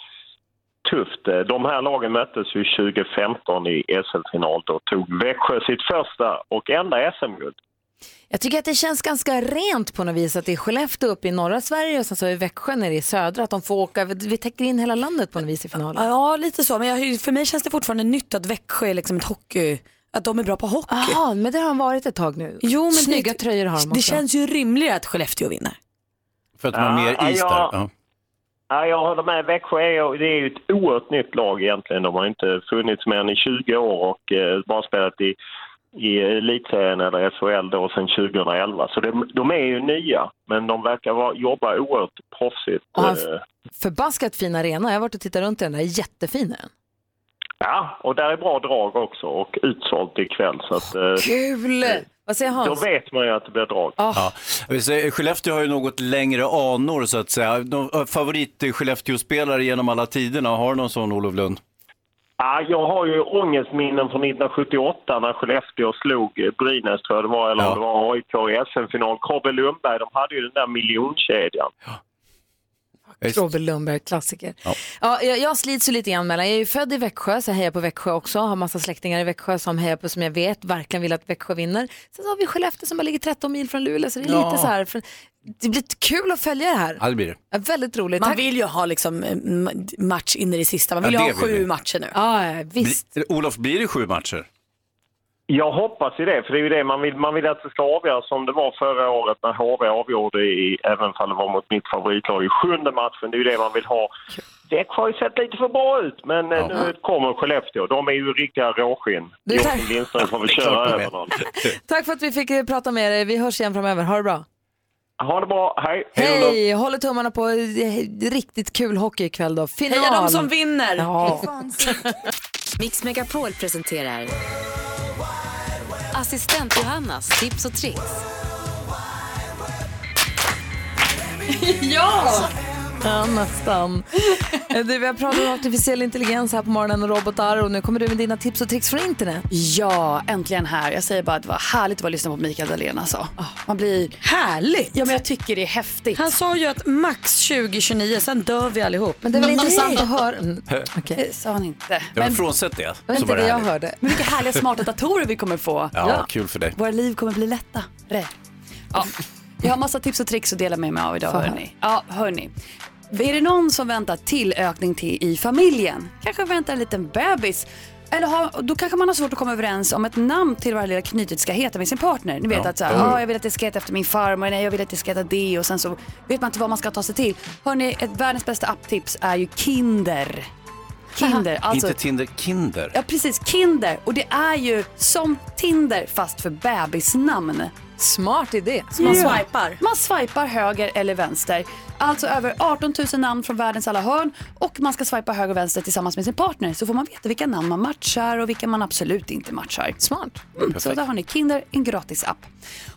S21: tufft. Eh, De här lagen möttes ju 2015 i SL-final. Då tog Växjö sitt första och enda SM-guld.
S1: Jag tycker att det känns ganska rent på något vis att det är Skellefteå uppe i norra Sverige och sen så är Växjö nere i södra, att de får åka, vi täcker in hela landet på något vis i finalen.
S3: Ja lite så men jag, för mig känns det fortfarande nytt att Växjö är liksom ett hockey, att de är bra på hockey.
S1: Jaha, men det har de varit ett tag nu.
S3: Jo, men
S1: Snygga
S3: det,
S1: tröjor har de
S3: Det
S1: också.
S3: känns ju rimligare att Skellefteå vinner.
S2: För att de har
S21: Ja,
S2: mer is
S21: ja.
S2: där. Ja.
S21: Ja, jag håller med. Växjö är, det är ju ett oerhört nytt lag egentligen. De har inte funnits mer än i 20 år och eh, bara spelat i, i elitserien eller SHL då sedan 2011. Så de, de är ju nya, men de verkar vara, jobba oerhört proffsigt.
S1: Och han-
S21: eh.
S1: Förbaskat fin arena, jag har varit och tittat runt i den där, jättefin är den.
S21: Ja, och där är bra drag också och utsålt ikväll. Så att, eh,
S1: Kul! Vad säger
S21: Då
S1: Hans?
S21: vet man ju att det blir drag.
S2: Ja. Jag vill säga, Skellefteå har ju något längre anor så att säga. De, favorit eh, Skellefteå-spelare genom alla tiderna, har du någon sån Olof Lund?
S21: Ja, jag har ju ångestminnen från 1978 när Skellefteå slog eh, Brynäs, tror jag det var, eller om det var AIK i SM-final. Kobbe Lundberg, de hade ju den där miljonkedjan.
S1: Robert Lundberg, klassiker. Ja. jag, jag slits ju lite grann mellan, jag är ju född i Växjö så jag hejar på Växjö också, har massa släktingar i Växjö som hejar på som jag vet verkligen vill att Växjö vinner. Sen så har vi Skellefteå som bara ligger 13 mil från Luleå så det är
S3: Ja.
S1: lite så här, för, det blir kul att följa det här.
S2: Ja, det blir det.
S1: Ja, väldigt roligt.
S3: Man
S1: Tack.
S3: vill ju ha liksom eh, m- match in i det sista. Man
S2: Ja,
S3: vill
S2: det
S3: ju ha
S2: vill vi.
S3: sju matcher nu.
S1: Ja,
S2: Bli, eh, Olof, blir det sju matcher?
S21: Jag hoppas ju det, för det är ju det man vill. Man vill att det ska avgöras som det var förra året när HV avgjorde, i, även om det var mot mitt favoritlag, i sjunde matchen. Det är ju det man vill ha. Växjö har ju sett lite för bra ut, men eh, nu kommer Skellefteå. De är ju riktiga råskinn.
S1: Du, tack.
S21: Joakim Lindström får väl
S1: Det är klart
S21: köra
S1: de
S21: över
S1: är.
S21: dem.
S1: Tack för att vi fick eh, prata med er, vi hörs igen framöver, ha det bra.
S21: Ha det bra, hej!
S1: Hej, håller tummarna på eh, riktigt kul hockey ikväll då. Final.
S3: Heja de som vinner!
S1: Ja.
S10: Mix Megapol presenterar Assistent Johannas tips och tricks.
S1: ja! Ja, nästan. Eh, Du, vi har pratat om artificiell intelligens här på morgonen och robotar och nu kommer du med dina tips och tricks från internet.
S3: Ja, äntligen här. Jag säger bara att det var härligt att bara lyssna på Mikael Dahlén alltså. Man blir... Härligt! Ja, men jag tycker det är häftigt. Han sa ju att max 2029, sen dör vi allihop.
S1: Men det är väl intressant att höra.
S2: Mm,
S3: Det sa han inte.
S2: Ja, men frånsett det.
S3: var inte det jag hörde.
S22: Men vilka härliga smarta datorer vi kommer få.
S2: Ja, kul för dig.
S22: Våra liv kommer bli lättare. Ja. Jag har massa tips och tricks att dela med mig av idag
S2: Fan.
S22: hörni. Ja, hörni. Är det någon som väntar tillökning till i familjen? Kanske väntar en liten bebis? Eller har, då kanske man har svårt att komma överens om ett namn till vad det lilla knytet ska heta med sin partner. Ni vet
S3: Ja.
S22: att så här,
S3: Mm.
S22: "Ah, jag vill att det ska heta efter min farmor, nej jag vill att det ska heta det och sen så vet man inte vad man ska ta sig till. Hörni, ett världens bästa apptips är ju Kinder. Kinder, alltså
S2: Inte Tinder, Kinder.
S22: Ja precis, Kinder. Och det är ju som Tinder fast för bebisnamn.
S1: Smart idé.
S22: Så man
S3: Ja.
S22: swipar. Man swipar höger eller vänster. Alltså över 18 000 namn från världens alla hörn och man ska swipa höger och vänster tillsammans med sin partner så får man veta vilka namn man matchar och vilka man absolut inte matchar. Smart. Mm, så
S3: Perfekt.
S22: där har ni Kinder, en gratis app.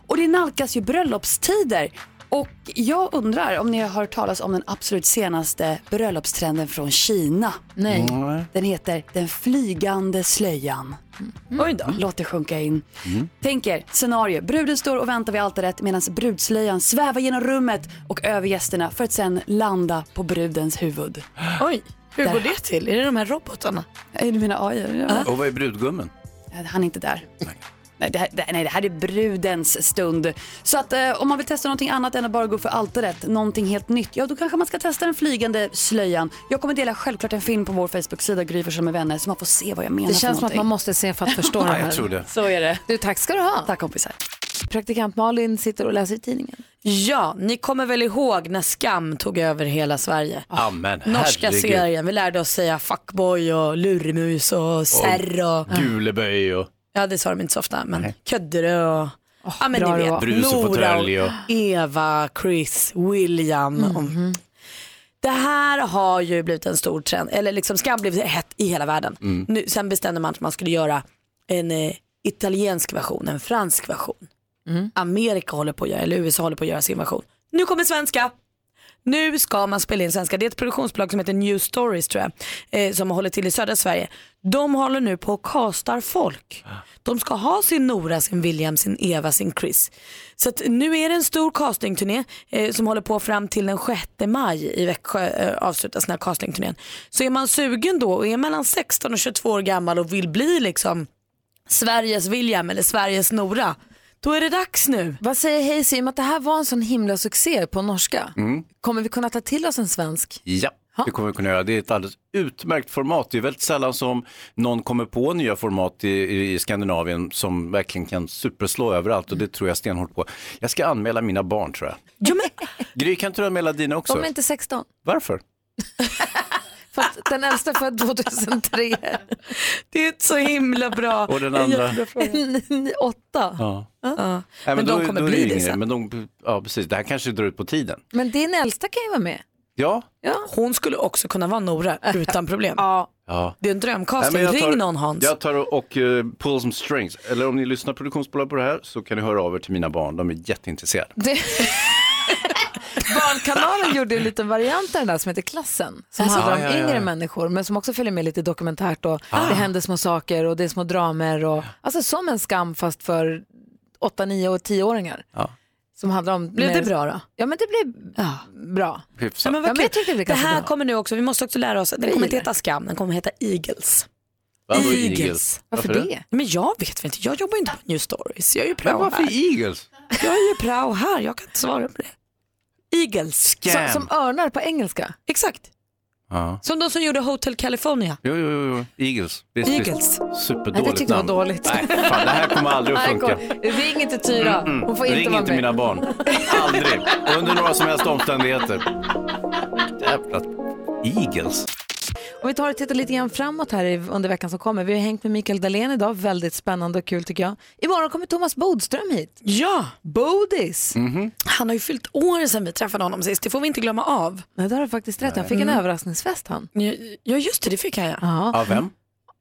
S22: Och det nalkas ju bröllopstider och jag undrar om ni har hört talas om den absolut senaste bröllopstrenden från Kina.
S1: Nej.
S22: Den heter den flygande slöjan.
S3: Mm.
S22: Oj då. Låt det sjunka in.
S2: Mm.
S22: Tänk er, scenario. Bruden står och väntar vid altaret medan brudslöjan svävar genom rummet och över gästerna för att sen landa på brudens huvud.
S3: Oj, hur
S22: Där.
S3: går det till? Är det de här robotarna?
S22: Eh, Du menar AI? Ja.
S2: Och vad är brudgummen?
S22: Nej, Han är inte där. Nej det, här, det, nej, det här är brudens stund. Så att eh, om man vill testa någonting annat än att bara gå för altaret, någonting helt nytt, ja då kanske man ska testa den flygande slöjan. Jag kommer dela självklart en film på vår Facebook-sida Gry Forssell med vänner, så man får se vad jag menar
S1: Det
S22: för
S1: känns som att
S22: någonting.
S1: man måste se för att förstå det
S22: Ja,
S1: här.
S22: jag tror det.
S1: Så är det. Du, tack ska du ha.
S22: Tack kompisar.
S1: Praktikant Malin sitter och läser i tidningen.
S3: Ja, ni kommer väl ihåg när Skam tog över hela Sverige?
S2: Amen,
S3: Norska
S2: herregud.
S3: serien, vi lärde oss säga fuckboy och lurmus och serr och...
S2: Guleböj och...
S3: Ja det sa de inte så ofta men Ködderö och ja, men
S2: bra
S3: ni
S2: det
S3: vet,
S2: var. Brus och fåtölj och-
S3: Eva, Chris, William. Och... Det här har ju blivit en stor trend, eller liksom skam blev hett i hela världen.
S2: Mm.
S3: Nu, sen bestämde man att man skulle göra en eh, italiensk version, en fransk version. Amerika håller på att göra, eller USA håller på att göra sin version. Nu kommer svenska! Nu ska man spela in svenska. Det är ett produktionsbolag som heter New Stories tror jag, eh, som håller till i södra Sverige. De håller nu på och castar folk. De ska ha sin Nora, sin William, sin Eva, sin Chris. Så att nu är det en stor castingturné eh, som håller på fram till den 6 maj i Växjö eh, avslutas den här castingturnén. Så är man sugen då och är mellan 16 och 22 år gammal och vill bli liksom Sveriges William eller Sveriges Nora, då är det dags nu.
S1: Vad säger Hayes i och med att det här var en sån himla succé på norska?
S2: Mm.
S1: Kommer vi kunna ta till oss en svensk?
S2: Ja, det kommer vi kunna göra. Det är ett alldeles utmärkt format. Det är väldigt sällan som någon kommer på nya format i, i Skandinavien som verkligen kan superslå överallt och det tror jag stenhårt på. Jag ska anmäla mina barn tror jag. Gry, kan inte du anmäla dina också?
S1: De är inte 16.
S2: Varför?
S1: För att den äldsta är född 2003.
S3: Det är så himla bra.
S2: Och den andra?
S3: Jättebra fråga.
S1: Åtta.
S2: Ja.
S3: Ja.
S2: Nej,
S3: Men
S2: då-
S3: de kommer
S2: då är
S3: bli
S2: ju
S3: det
S2: ingen-
S3: sen.
S2: Men de, ja, precis. Det här kanske drar ut på tiden.
S1: Men din äldsta kan ju vara med.
S2: Ja.
S3: Hon skulle också kunna vara Nora utan problem.
S1: Ja.
S2: ja.
S3: Det är en drömcasting.
S2: Nej, men jag
S3: Ring någon Hans.
S2: Jag tar och, och eh, pull some strings. Eller om ni lyssnar produktionsbolag på det här så kan ni höra av er till mina barn. De är jätteintresserade.
S1: Det... Barnkanalen gjorde en liten variant av den där som heter Klassen. Som
S5: Alltså?
S1: handlar om
S5: Ja, ja, ja.
S1: yngre människor men som också följer med lite dokumentärt och
S3: Ah.
S1: det händer små saker och det är små dramer. Och, alltså som en skam fast för 8, 9 och 10-åringar.
S2: Ja.
S1: Som handlar om...
S3: Blev det bra då?
S1: Ja men det blev bra.
S3: Ja,
S2: Hyfsat.
S3: men vad
S1: men
S3: kul.
S1: jag tyckte det blev
S3: det
S1: ganska
S3: här
S1: bra.
S3: kommer nu också, vi måste också lära oss, den kommer inte heta Skam, den kommer heta Eagles.
S2: Vadå
S3: Eagles.
S2: Eagles?
S3: Varför,
S2: Varför
S3: det? Men jag vet väl inte, jag jobbar ju inte på New Stories. Jag är ju prao
S2: Men varför
S3: här.
S2: Eagles?
S3: Jag är ju prao här, jag kan inte svara på det. Eagles.
S2: Scam.
S1: Som örnar på engelska?
S3: Exakt.
S2: Ja.
S3: Som de som gjorde Hotel California.
S2: Jo, jo, jo, jo. Eagles. Det är
S3: Eagles.
S2: Superdåligt
S3: Nej, det tyckte jag var
S2: namn.
S3: dåligt.
S2: Nej, fan, det här kommer aldrig att
S1: Nej,
S2: funka.
S1: kom. Ring inte Tyra,
S2: Mm-mm.
S1: hon får inte
S2: Ring
S1: vara
S2: inte
S1: med.
S2: mina barn. Aldrig. Under några som helst omständigheter. Jävla Eagles.
S1: Om vi tar och tittar lite grann framåt här i- under veckan som kommer. Vi har hängt med Mikael Dahlén idag, väldigt spännande och kul tycker jag. Imorgon kommer Thomas Bodström hit.
S3: Ja!
S1: Bodis!
S3: Han har ju fyllt år sedan vi träffade honom sist, det får vi inte glömma av. Mm.
S1: Nej, det har du faktiskt rätt. Han fick en överraskningsfest han.
S3: Ja, just det, det fick han ja.
S2: Av vem?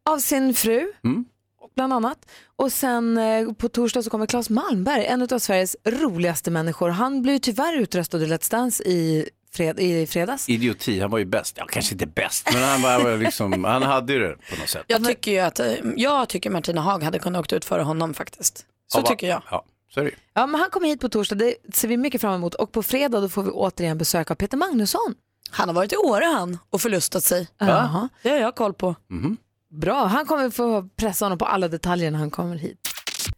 S1: Av sin fru,
S2: Mm.
S1: bland annat. Och sen eh, på torsdag så kommer Claes Malmberg, en av Sveriges roligaste människor. Han blev ju tyvärr utröstad ur Let's Dance i, fred- i fredags.
S2: Idioti, han var ju bäst. Ja, kanske inte bäst, men han, var- var liksom, han hade ju det på något sätt.
S3: Jag tycker ju att, eh, jag tycker Martina Haag hade kunnat åkt ut före honom faktiskt. Så
S2: Ja, va-
S3: tycker jag.
S2: Ja, så är det ju.
S1: Ja, men han kommer hit på torsdag, det ser vi mycket fram emot. Och på fredag då får vi återigen besök av Peter Magnusson.
S3: Han har varit i Åre han och förlustat sig.
S1: Jaha.
S3: Det har jag koll på.
S1: Bra, han kommer få pressa honom på alla detaljer när han kommer hit.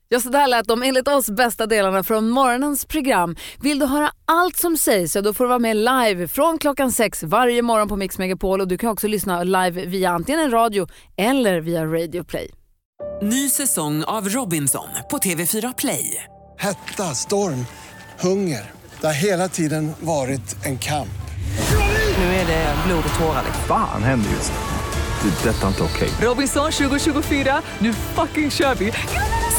S1: Ja, så där lät de enligt oss bästa delarna från morgonens program. Vill du höra allt som sägs så då får du vara med live från klockan sex varje morgon på Mix Megapol och du kan också lyssna live via antingen en radio eller via Radio Play.
S23: Ny säsong av Robinson på TV4 Play.
S24: Hetta, storm, hunger. Det har hela tiden varit en kamp.
S23: Nu är det blod och tårar.
S25: Fan händer just nu. Det. är Detta är inte okej.
S23: Robinson 2024, nu fucking kör vi!